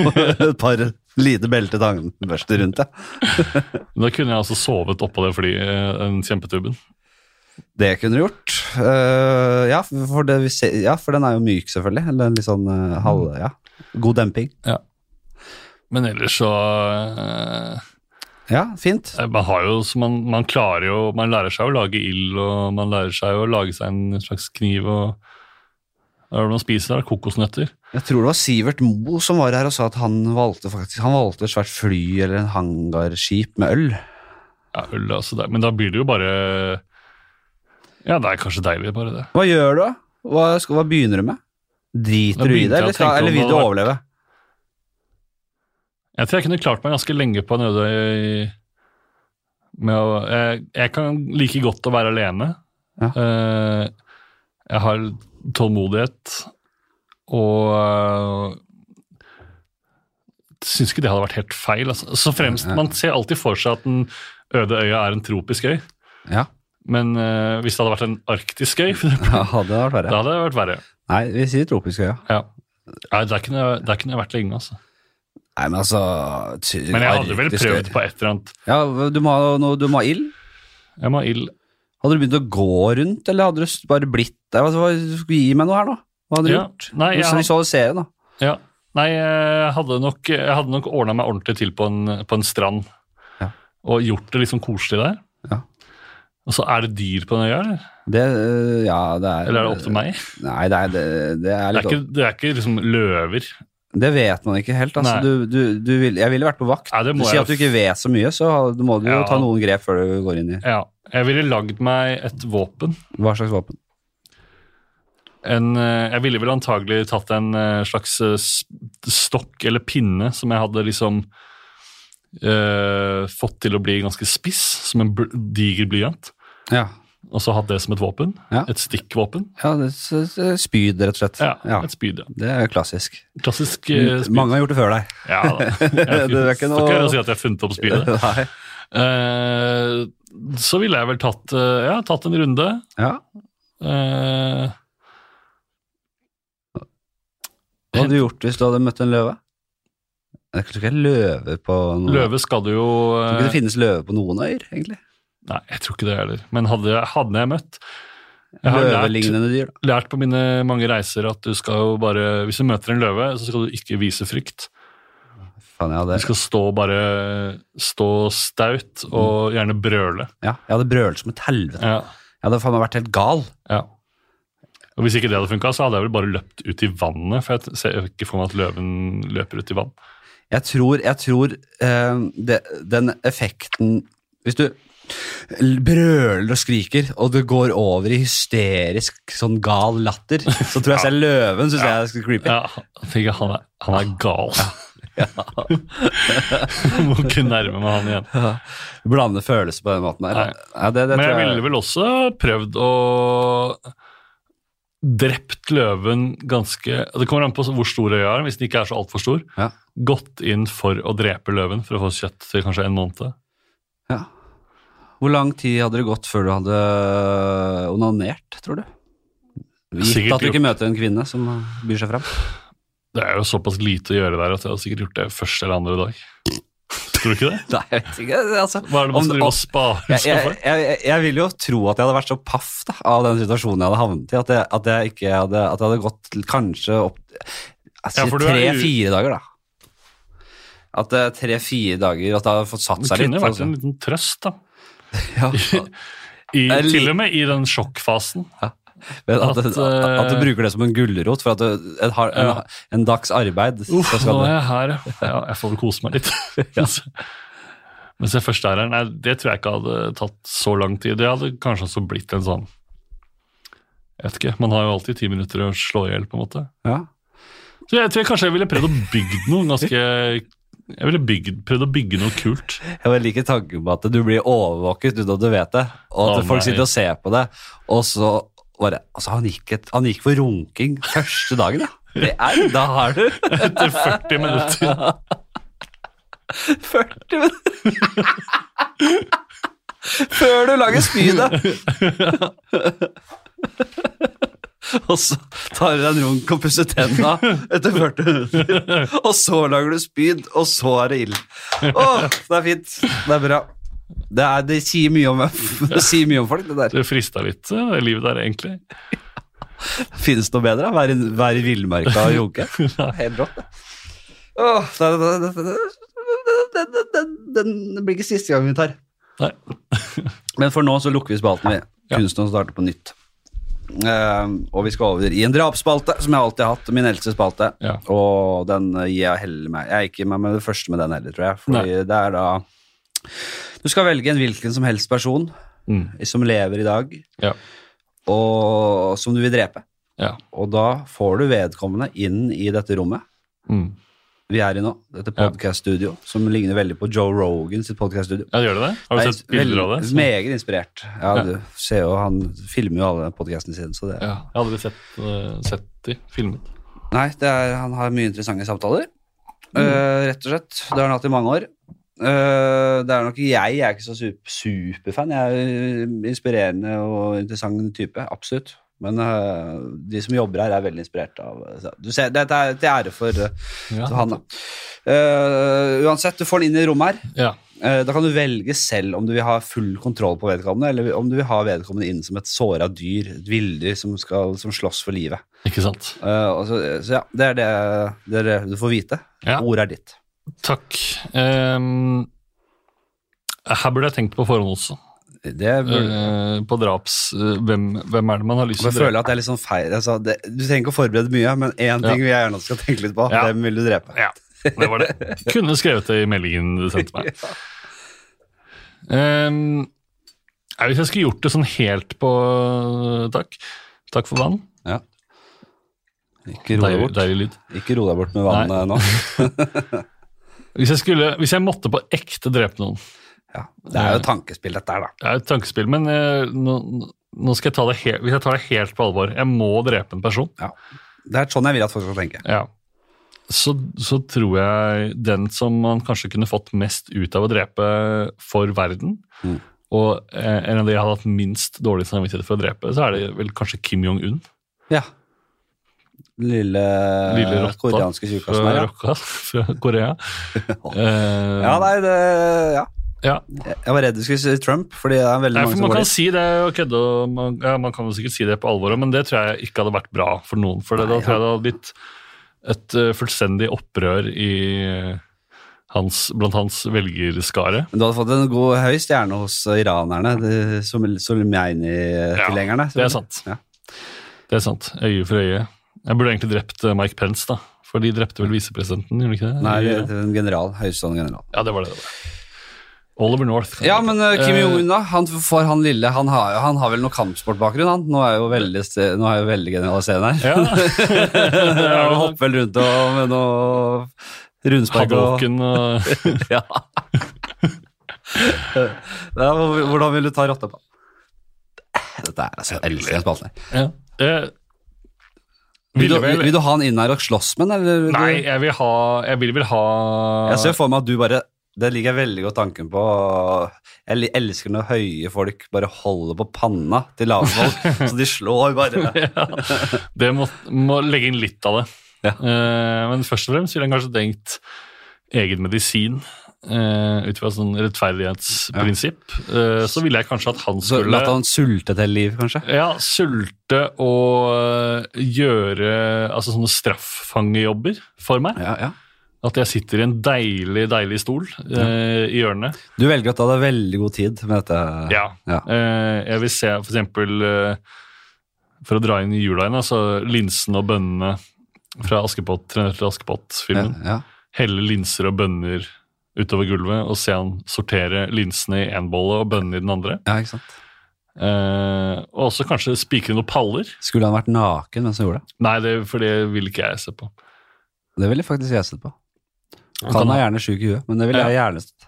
og <laughs> et par lite belte tannbørster rundt deg. Da kunne jeg altså sovet oppå det flyet, eh, den kjempetuben. Det kunne du gjort. Eh, ja, for det vi ser, ja, for den er jo myk, selvfølgelig. Eller en litt sånn eh, halv Ja. God demping. Men ellers så eh, Ja, fint. Man har jo så man, man klarer jo Man lærer seg å lage ild, og man lærer seg å lage seg en slags kniv og Hva er det man spiser? da? Kokosnøtter? Jeg tror det var Sivert Moe som var her og sa at han valgte faktisk Han valgte et svært fly eller en hangarskip med øl. Ja, øl, altså. Det, men da blir det jo bare Ja, det er kanskje deilig, bare det. Hva gjør du, da? Hva, skal, hva begynner du med? Da Driter du i det, begynte jeg å eller, skal, tenke om eller vil det du hadde overleve? Jeg tror jeg kunne klart meg ganske lenge på en øde øy. Med å, jeg, jeg kan like godt å være alene. Ja. Eh, jeg har tålmodighet, og uh, syns ikke det hadde vært helt feil. Altså. Så fremst, Ja. Man ser alltid for seg at den øde øya er en tropisk øy, Ja, men eh, hvis det hadde vært en arktisk øy, <laughs> da <laughs> ja hadde det vært verre. hadde det vært verre. Nei, vi sier tropisk øya. Ja. Nei, der kunne jeg, der kunne jeg vært lenge, altså. Nei, men altså ty- Men jeg hadde vel arktisk øy. prøvd på et eller annet. Ja, du må ha noe- du må ha ild. Jeg må ha ild. Hadde du begynt å gå rundt, eller hadde du bare blitt der? Hva- hva- Skulle gi meg noe her nå? Hva hadde du Ja, gjort? nei, jeg Hvis had- vi så serien, da. Ja. Nei, jeg hadde nok, jeg hadde nok ordna meg ordentlig til på en, på en strand. Ja. Og gjort det litt sånn koselig der. Ja. Og så er det dyr på den øya, eller? Det, øh, ja, det er, Eller er det opp til meg? Nei, det er, det, det er Det litt er ikke, det er ikke liksom løver. opp- Det vet man ikke helt. Altså, Nei. du, du, du vil, jeg ville vært på vakt. Nei, det Du må sier jeg at du ikke vet så mye, så du må du jo Ja. ta noen grep før du går inn i Ja. Jeg ville lagd meg et våpen. Hva slags våpen? En, eh, jeg ville vel antagelig tatt en eh, slags eh, s- stokk eller pinne som jeg hadde liksom eh, fått til å bli ganske spiss, som en bl diger blyant. Ja, Og så hatt det som et våpen. Ja. Et stikkvåpen. ja det, s- s- spyd, rett og slett. Ja, Ja. Et spyd, ja. Det er jo klassisk. Mm, Klassisk eh, spill. Mange har gjort det før deg. Ja, <laughs> da. Jeg Det er ikke noe- Skal ikke gjøre å si at jeg har funnet opp spillet. <laughs> Nei. Eh, så ville jeg vel tatt, eh, ja, tatt en runde. Ja. Eh, Hva hadde du gjort hvis du hadde møtt en løve? Jeg tror ikke det er løve på noen løve skal du jo Jeg Mm. tror ikke eh, det finnes løve på noen øyer, egentlig. Nei, jeg tror ikke det heller. Men hadde, jeg- hadde jeg møtt Jeg har lært, Løvelignende dyr, da. lært på mine mange reiser at du skal jo bare Hvis du møter en løve, så skal du ikke vise frykt. Faen, jeg Du hadde, skal stå bare stå staut og gjerne brøle. ja, jeg hadde brølt som et helvete. Ja, Jeg hadde faen meg vært helt gal. ja. Og Hvis ikke det hadde funka, så hadde jeg vel bare løpt ut i vannet. For jeg ser ikke for meg at løven løper ut i vann. Jeg tror, jeg tror eh, det, den effekten Hvis du l- brøler og skriker, og det går over i hysterisk sånn gal latter, så tror jeg selv løven syns jeg er så creepy. Ja, jeg tenker han er, han er gal. <laughs> Må ikke nærme meg han igjen. <laughs> Blande følelser på den måten der. Nei. Ja, det, det Men jeg tror ville vel også prøvd å drept løven ganske Det kommer an på hvor stor øya er, hvis den ikke er så altfor stor. Ja. Gått inn for å drepe løven for å få kjøtt til kanskje en måned. ja. Hvor lang tid hadde det gått før du hadde onanert, tror du? Gitt Sikkert at du gjort. ikke møter en kvinne som byr seg fram. Det er jo såpass lite å gjøre der at jeg hadde sikkert gjort det første eller andre dag. Tror du ikke det? Nei, jeg vet ikke. Altså, Hva er det man Om- driver om- og sparer jeg, seg jeg, for? jeg, jeg vil jo tro at jeg hadde vært så paff da, av den situasjonen jeg hadde havnet i, at jeg, at jeg ikke hadde, at jeg hadde gått til kanskje opp Ja, altså, for du er u- tre-fire dager, da. At det er tre-fire dager At det har fått satt Det seg litt. kunne jo vært altså. en liten trøst, da. <laughs> ja, I, Jeg lik- til og med i den sjokkfasen. men at, at, at, at du eh, bruker det som en gulrot for at du, en, har- en, Ja. en dags arbeid så Uff, skal nå du- er jeg her, ja. ja. Jeg får vel kose meg <laughs> litt. Mens jeg først er her, nei, det tror jeg ikke hadde tatt så lang tid. Det hadde kanskje også blitt en sånn Jeg vet ikke, man har jo alltid ti minutter å slå i hjel, på en måte. ja. Så jeg tror jeg kanskje jeg ville prøvd å bygge noe ganske Jeg ville bygd, prøvd å bygge noe kult. Jeg liker tanken på at du blir overvåket uten at du vet det, og at Å, folk nei. sitter og ser på det, og så bare Altså, han gikk, et, han gikk for runking første dagen, ja. Det er, da har du Etter 40 minutter. 40 minutter Før du lager spydet! Og så tar du deg en runk og pusser tenna etter 40 minutter. Og så lager du spyd, og så er det ild. Å, det er fint. Det er bra. Det, er, det, sier mye om, det sier mye om folk, det der. Det frista litt, det livet der, egentlig. <laughs> Finnes det noe bedre? da? Være, i- være i villmarka og runke? Helt rått, det. Åh, det- det- det- det- det- det- Den den blir ikke siste gang vi tar. Nei. Men for nå så lukker vi spalten, vi. Ja. Kunsten starter på nytt. Ehm, og vi skal over i en drapsspalte, som jeg alltid har hatt. Min eldste spalte. Ja. Og den eh, gir jeg heller meg Jeg er ikke med med det første med den heller, tror jeg. Fordi Nei. det er da Du skal velge en hvilken som helst person Mm. som lever i dag, Ja. og som du vil drepe. Ja. Og da får du vedkommende inn i dette rommet Mm. vi er i nå. Dette Ja. podcaststudio, som ligner veldig på Joe Rogan sitt podcaststudio. ja, gjør det det? Har du sett bilder av det? Så- Meget inspirert. Ja, Ja. du ser jo, han filmer jo alle podcastene sine, så det Ja. Jeg har aldri sett, eh, sett de filmet. Nei, det er, han har mye interessante samtaler. Mm. Eh, rett og slett. Det har han hatt i mange år. Eh, det er nok jeg, jeg er ikke så sup- superfan. Jeg er eh, inspirerende og interessant type, absolutt. Men eh, de som jobber her, er veldig inspirert av så Du ser, Dette er til ære for eh, Ja. Så han da. Eh, uansett, du får den inn i rommet her. Ja. Eh, da kan du velge selv om du vil ha full kontroll på vedkommende, eller om du vil ha vedkommende inn som et såra dyr, et villdyr som, skal- som slåss for livet. Ikke sant. Eh, og så, så ja, det er det, det, er det du får vite. Ja. Ordet er ditt. Takk. Ehm, her burde jeg tenkt på forhånd også. Det burde Eh, på draps... eh, hvem, hvem er det man har lyst jeg til å drepe? føler at det er litt sånn feil. Altså, det, du trenger ikke å forberede mye, men én ting vil jeg gjerne at du skal tenke litt på. Ja. Hvem vil du drepe? Ja, det <laughs> var det. Kunne skrevet det i meldingen du sendte meg. Ehm, nei, hvis jeg skulle gjort det sånn helt på Takk. Takk for vann. Ikke ro deg Deilig, bort. deilig lyd. Ikke ro deg bort med vann Nei. eh, nå. Hvis jeg, skulle, hvis jeg måtte på ekte drepe noen Ja. Det er jo et tankespill, dette her, da. Det er et tankespill, men eh, nå, nå skal jeg ta det helt, hvis jeg tar det helt på alvor. Jeg må drepe en person. Det er sånn jeg vil at folk skal tenke. Ja. Så, så tror jeg den som man kanskje kunne fått mest ut av å drepe for verden, Mm. og eh, en av de jeg hadde hatt minst dårlig samvittighet for å drepe, så er det vel kanskje Kim Jong-un. Ja. Lille, Lille rotta Eh, koreanske tjukkasen Fra, her, ja. Rokka, fra <laughs> Korea. Eh, Ja, nei, det Ja. ja. Jeg var redd du skulle si Trump, fordi det er veldig Nei, mange for som man går kan dit. si det og kødde, og man, ja, man kan jo sikkert si det på alvor, men det tror jeg ikke hadde vært bra for noen. For det, da Nei, tror jeg det hadde blitt et eh, fullstendig opprør i eh, hans, blant hans velgerskare. Men du hadde fått en god høy stjerne hos iranerne, de- som Soleimani-tilhengerne. Det er sant. Ja. Det er sant. Øye for øye. Jeg burde egentlig drept eh, Mike Pence, da. For de drepte vel visepresidenten, gjorde de ikke det? Nei, det I- det er en general. Høyestående general. Ja, det var det det var. Oliver North. kan Ja, jeg- men eh, Kim Eh, Jong-un, da? Han får han lille Han har, han har vel noe kampsportbakgrunn, han? Nå er jo veldig, st- nå er jo veldig generaliserende her. <laughs> <laughs> Ja. han hopper vel rundt og med noe rundspark og Hadoken og <laughs> ja. Ja, hvor- Hvordan vil du ta rotta på? Dette er altså, jeg elsker den spalten her. ja. Eh, Vil du, ville vel- vil, vil du ha han inn her og slåss med han, eller? vil du- Nei, jeg vil, ha, jeg vil vel ha Jeg ser for meg at du bare Det liker jeg veldig godt tanken på. Jeg li- elsker når høye folk bare holder på panna til lave <laughs> folk, så de slår bare. <laughs> ja, Det må, må legge inn litt av det. Ja. Eh, men først og fremst ville jeg kanskje tenkt egen medisin eh, ut fra sånn rettferdighetsprinsipp, eh, så ville jeg kanskje at han Så skulle latt han sulte til liv, kanskje? ja, sulte og eh, gjøre altså sånne straffangejobber for meg. Ja, ja. At jeg sitter i en deilig, deilig stol eh, i hjørnet. Du velger å ta deg veldig god tid med dette. Ja. Eh, jeg vil se for eksempel, eh, for å dra inn i jula igjen, altså linsen og bønnene fra Askepott, 300 Askepott-filmen. Ja, Helle linser og bønner utover gulvet, og se han sortere linsene i én bolle og bønnene i den andre. ja, ikke sant. Eh, og også kanskje spikre noen paller. Skulle han vært naken mens han gjorde det? Nei, det, for det vil ikke jeg se på. Det ville faktisk jeg sett på. Han Han kan- er gjerne sjuk i huet, men det ville Ja. jeg gjerne sett.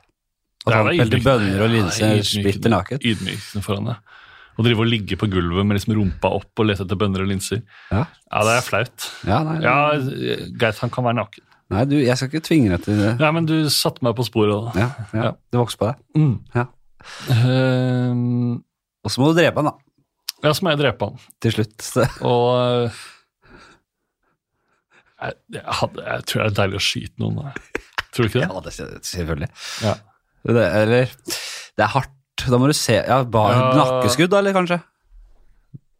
At Ja, han det er pelte ydmykende. bønner og Ja, linser det er ydmykende. splitter naken. Ydmykende foran deg. Å drive og ligge på gulvet med liksom rumpa opp og lete etter bønner og linser. Ja. Ja, det er flaut. Ja, nei, Ja, Greit, han kan være naken. nei du, jeg skal ikke tvinge deg til det. Nei, men du satte meg på sporet. da. Ja, ja. Ja. Det vokser på deg. Mm. Ja. Ehm, Og så må du drepe han, da. ja, så må jeg drepe han. Til slutt. <laughs> Så- Og eh, jeg, jeg, hadde, jeg tror det er deilig å skyte noen. da. Tror du ikke det? Ja, det ser- selvfølgelig. Ja. Det, eller Det er hardt. Da må du se Ja, bare Ja. nakkeskudd, da, eller kanskje?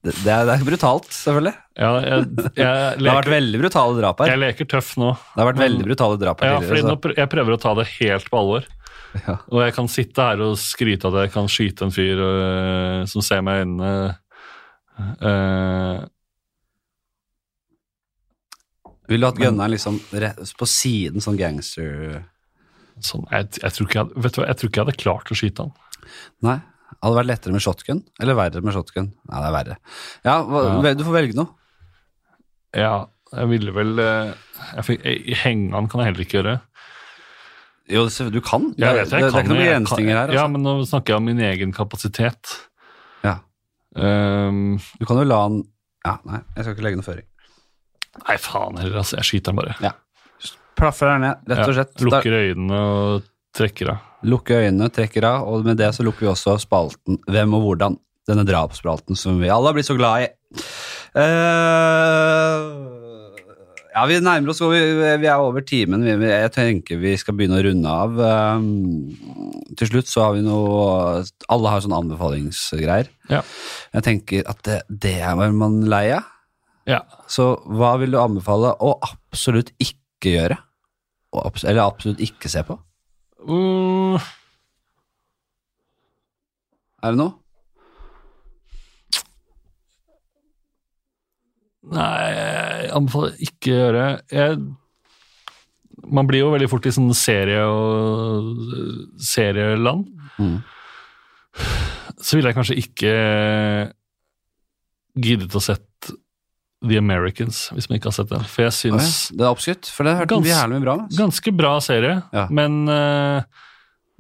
Det, det, er, det er brutalt, selvfølgelig. Ja, jeg, jeg, Det har vært leker, veldig brutale drap her. jeg leker tøff nå. Det har vært men- veldig brutale drap her Ja, fordi nå tidligere. prø jeg prøver å ta det helt på alvor. Ja. Og jeg kan sitte her og skryte at jeg kan skyte en fyr øh, som ser meg i øynene. Øh, Så. Ville du hatt Men- gunneren liksom rett på siden, sånn gangster sånn, jeg, jeg, tror ikke jeg, hadde- vet du hva, jeg tror ikke jeg hadde klart å skyte han. Nei. Hadde det vært lettere med shotgun? Eller verre med shotgun? Nei, det er verre. Ja, hva, Ja. vel, du får velge noe. Ja, jeg ville vel øh, jeg fikk, jeg, Henge han kan jeg heller ikke gjøre. Jo, så du kan. Jeg det, det, vet, jeg det er kan ikke noen jo, jeg kan- begrensninger her. Ja, Altså. men nå snakker jeg om min egen kapasitet. Ja. Ehm, Du kan jo la han Ja, nei, jeg skal ikke legge noe føring. nei, faen heller, altså. Jeg skyter han bare. Plaffer der ned, rett og Ja, slett. Da- lukker øynene og trekker av. Lukke øynene, trekker av, og med det så lukker vi også spalten Hvem og hvordan. Denne drapsspalten som vi alle har blitt så glad i. Eh, ja, vi nærmer oss over, vi er over timen. Vi- vi- Jeg tenker vi skal begynne å runde av. Eh, til slutt så har vi noe Alle har sånne anbefalingsgreier. Ja. Jeg tenker at det, det er vel man lei av. Ja, Så hva vil du anbefale å absolutt ikke gjøre? Og abs eller absolutt ikke se på? Mm, Er det noe? nei, jeg anbefaler ikke å gjøre. Jeg, man blir jo veldig fort i sånn serie og eh, serieland. Mm. Så ville jeg kanskje ikke giddet å sett The Americans, hvis man ikke har sett den. For Å jeg ja, syns Det er oppskutt, for det hørte Gans- vi herlig mye bra om. altså. Ganske bra serie, Ja. men eh,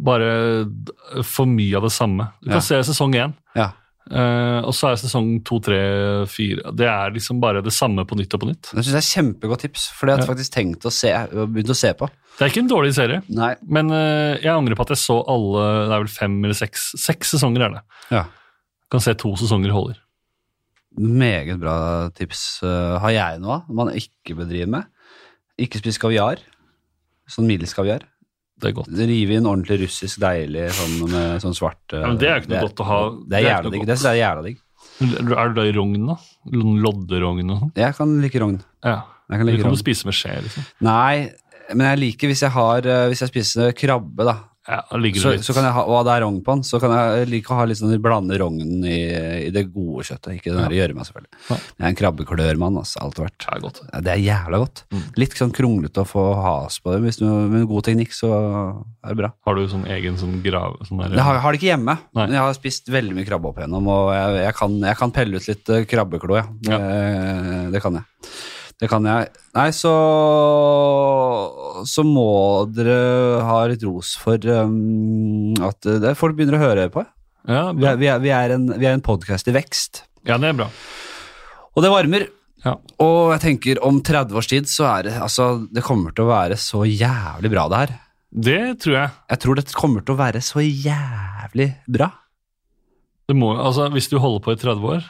bare d- for mye av det samme. Du kan Ja. se sesong én. Ja. eh, og så er sesong to, tre, fire Det er liksom bare det samme på nytt og på nytt. Det syns jeg er kjempegodt tips, for det hadde Ja. jeg faktisk tenkt å se, og begynt å se på. Det er ikke en dårlig serie, Nei. men eh, jeg angrer på at jeg så alle Det er vel fem eller seks Seks sesonger er det. Ja. Kan se to sesonger holder. Meget bra tips. Eh, har jeg noe av man ikke bedriver med? Ikke spis kaviar. Sånn middels kaviar. Det er godt. Rive inn ordentlig russisk deilig sånn med sånn svart eh, Ja, men det er jo ikke noe godt å ha. Det er Det er ikke jævla noe digg. godt. Det synes jeg er jævla digg. Er du da i rogn, da? Lodderogn og sånn? Jeg kan like rogn. Ja. Jeg kan Det like kan du rogn. spise med skje, liksom. Nei, men jeg liker hvis jeg har eh, Hvis jeg spiser krabbe, da. Ja, da ligger så, det litt. så kan jeg ha, og det er rogn på den, så kan jeg like å ha litt sånn, blande rognen i, i det gode kjøttet. Ikke den der gjørma, selvfølgelig. Ja. Jeg er en krabbeklørmann, altså. Alt hvert. Det er godt. Ja, Det er jævla godt. Mm. Litt sånn kronglete å få has på det. men Hvis du, med god teknikk, så er det bra. Har du sånn egen sånn grave sånn der, Jeg har, har det ikke hjemme, Nei. men jeg har spist veldig mye krabbe opp igjennom, og jeg, jeg, kan, jeg kan pelle ut litt eh, krabbeklo, ja. Ja. Eh, Det kan jeg. Det kan jeg. Nei, så, så må dere ha litt ros for um, at det, folk begynner å høre på. Ja, Vi bra. er, vi er, vi er en, vi er en podkast i vekst, ja, det er bra. og det varmer. Ja. Og jeg tenker om 30 års tid så er det altså Det kommer til å være så jævlig bra, det her. Det tror jeg. Jeg tror det kommer til å være så jævlig bra. Det må, altså, hvis du holder på i 30 år,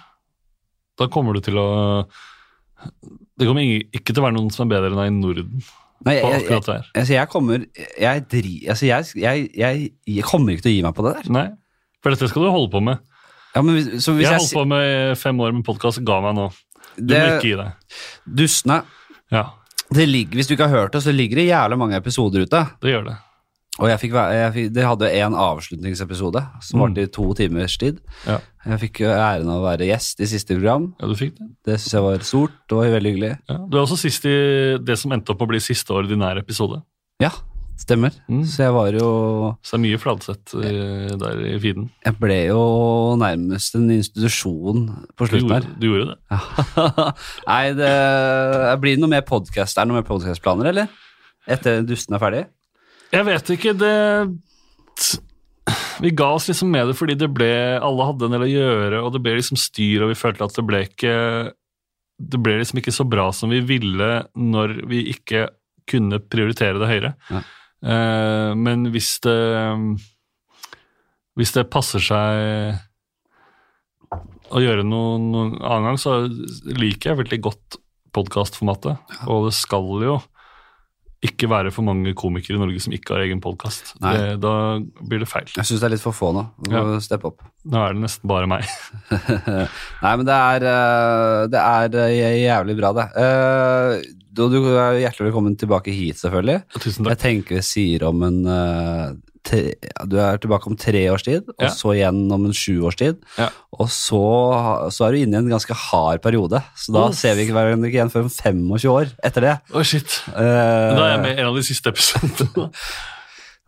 da kommer du til å Det kommer ing- ikke til å være noen som er bedre enn deg i Norden. Nei, på jeg, jeg, akkurat det her. altså, jeg kommer jeg, dri, altså, jeg, jeg, jeg, jeg kommer ikke til å gi meg på det der. Nei, for dette skal du holde på med. Ja, men hvis, så hvis jeg, Jeg har holdt på med fem år med podkast, ga meg nå. sier- Du må ikke det, gi deg. Dustene Ja, det ligger, Hvis du ikke har hørt det, så ligger det jævla mange episoder ute. det gjør det. Og jeg fikk, væ- jeg fikk, de hadde en avslutningsepisode som Mm. varte i to timers tid. Ja. Jeg fikk jo æren av å være gjest i siste program. Ja, du fikk det. Det syns jeg var stort. Det var veldig hyggelig. Ja. Du er også sist i det som endte opp å bli siste ordinære episode. Ja, stemmer. Mm. Så jeg var jo Så det er mye fladsett eh, der i feeden. Jeg ble jo nærmest en institusjon på Du, slutten her. gjorde- du gjorde det. Ja. <laughs> Nei, det blir det noe mer podkast. Er det noe mer podkastplaner, eller? Etter Dusten er ferdig? Jeg vet ikke, det Vi ga oss liksom med det fordi det ble Alle hadde en del å gjøre, og det ble liksom styr, og vi følte at det ble ikke Det ble liksom ikke så bra som vi ville når vi ikke kunne prioritere det høyere. Ja. Eh, men hvis det Hvis det passer seg å gjøre noe noen annen gang, så liker jeg veldig godt podkastformatet. Og det skal jo ikke være for mange komikere i Norge som ikke har egen podkast. Nei. Da blir det feil. Jeg syns det er litt for få nå. Vi må steppe opp. Nå er det nesten bare <laughs> meg. Nei, men det er, eh, det er eh, jævlig bra, det. Eh, Du du er hjertelig velkommen tilbake hit, selvfølgelig. Tusen Jeg takk. tenker vi sier om en eh, tre, ja, Du er tilbake om tre års tid, og Ja. så igjen om en sju års tid. Ja. Og så, så er du inne i en ganske hard periode, så da Uff. ser vi ikke hverandre igjen før om 25 år etter det. Å, shit. Eh, Da er jeg med i en av de siste episodene.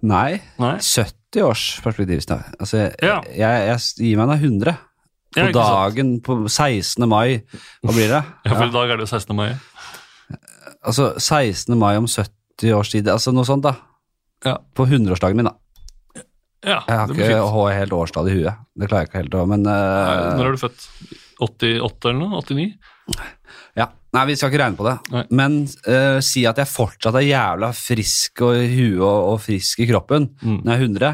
Nei, <laughs> Nei. 70 års perspektiv. snak- Altså, jeg, Ja. jeg, jeg gir meg nå 100. På Ja, ikke sant. dagen på 16. mai, hva blir det? Ja, for i dag er det jo 16. mai. Altså 16. mai om 70 års tid, altså noe sånt da. Ja. På 100-årsdagen min da. Ja, Jeg har det blir ikke fint. hå- helt årstall i huet. Det klarer jeg ikke helt å Men Nei, eh, Når er du født? 88 eller noe? 89? ja. Nei, vi skal ikke regne på det. Nei. Men eh, si at jeg fortsatt er jævla frisk og i huet og, og frisk i kroppen Mm. når jeg er 100,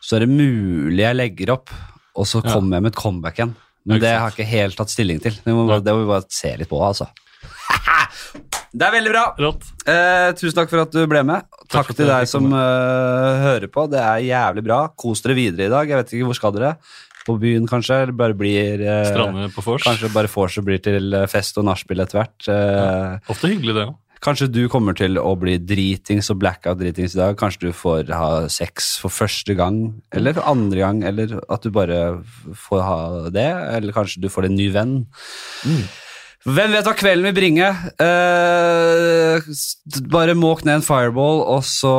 så er det mulig jeg legger opp, og så Ja. kommer jeg med et comeback igjen. Men det Ikke sant. har jeg ikke helt tatt stilling til. Det må, vi Nei. bare- det må vi bare se litt på, altså. <laughs> Det er veldig bra! Rått. Eh, tusen takk for at du ble med. Takk, for at til jeg deg fikk som eh, hører på. Det er jævlig bra. Kos dere videre i dag. Jeg vet ikke hvor skal dere? På byen, kanskje? Eller bare blir eh, Strande på vors. Kanskje bare vorset blir til eh, fest og nachspiel etter hvert. Eh, Ofte hyggelig, det òg. Kanskje du kommer til å bli dritings og blackout-dritings i dag. Kanskje du får ha sex for første gang, eller for andre gang, eller at du bare f- får ha det. Eller kanskje du får en ny venn. Hvem vet hva kvelden vil bringe? Eh, s- bare måk ned en fireball, og så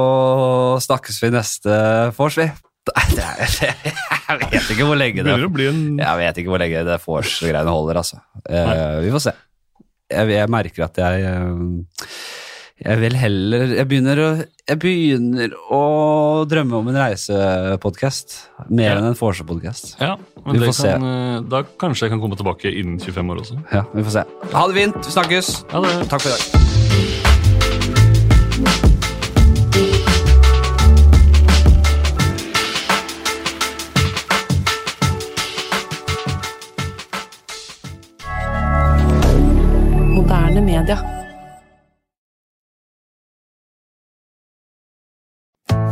snakkes vi neste vors, vi. <laughs> Det er- <laughs> Jeg vet ikke hvor lenge det er. Begynner å bli en Jeg vet ikke hvor lenge det vors-greiene holder, altså. Eh, vi får se. Jeg, jeg merker at jeg eh, Jeg vil heller Jeg begynner å, jeg begynner å drømme om en reisepodkast. Mer Ja. enn en vors-podkast. Ja, Vi men det får se. kan, eh, da kanskje jeg kan komme tilbake innen 25 år også. Ja, vi får se. Ha det fint. Vi snakkes. Ha det. Takk for i dag. Moderne media.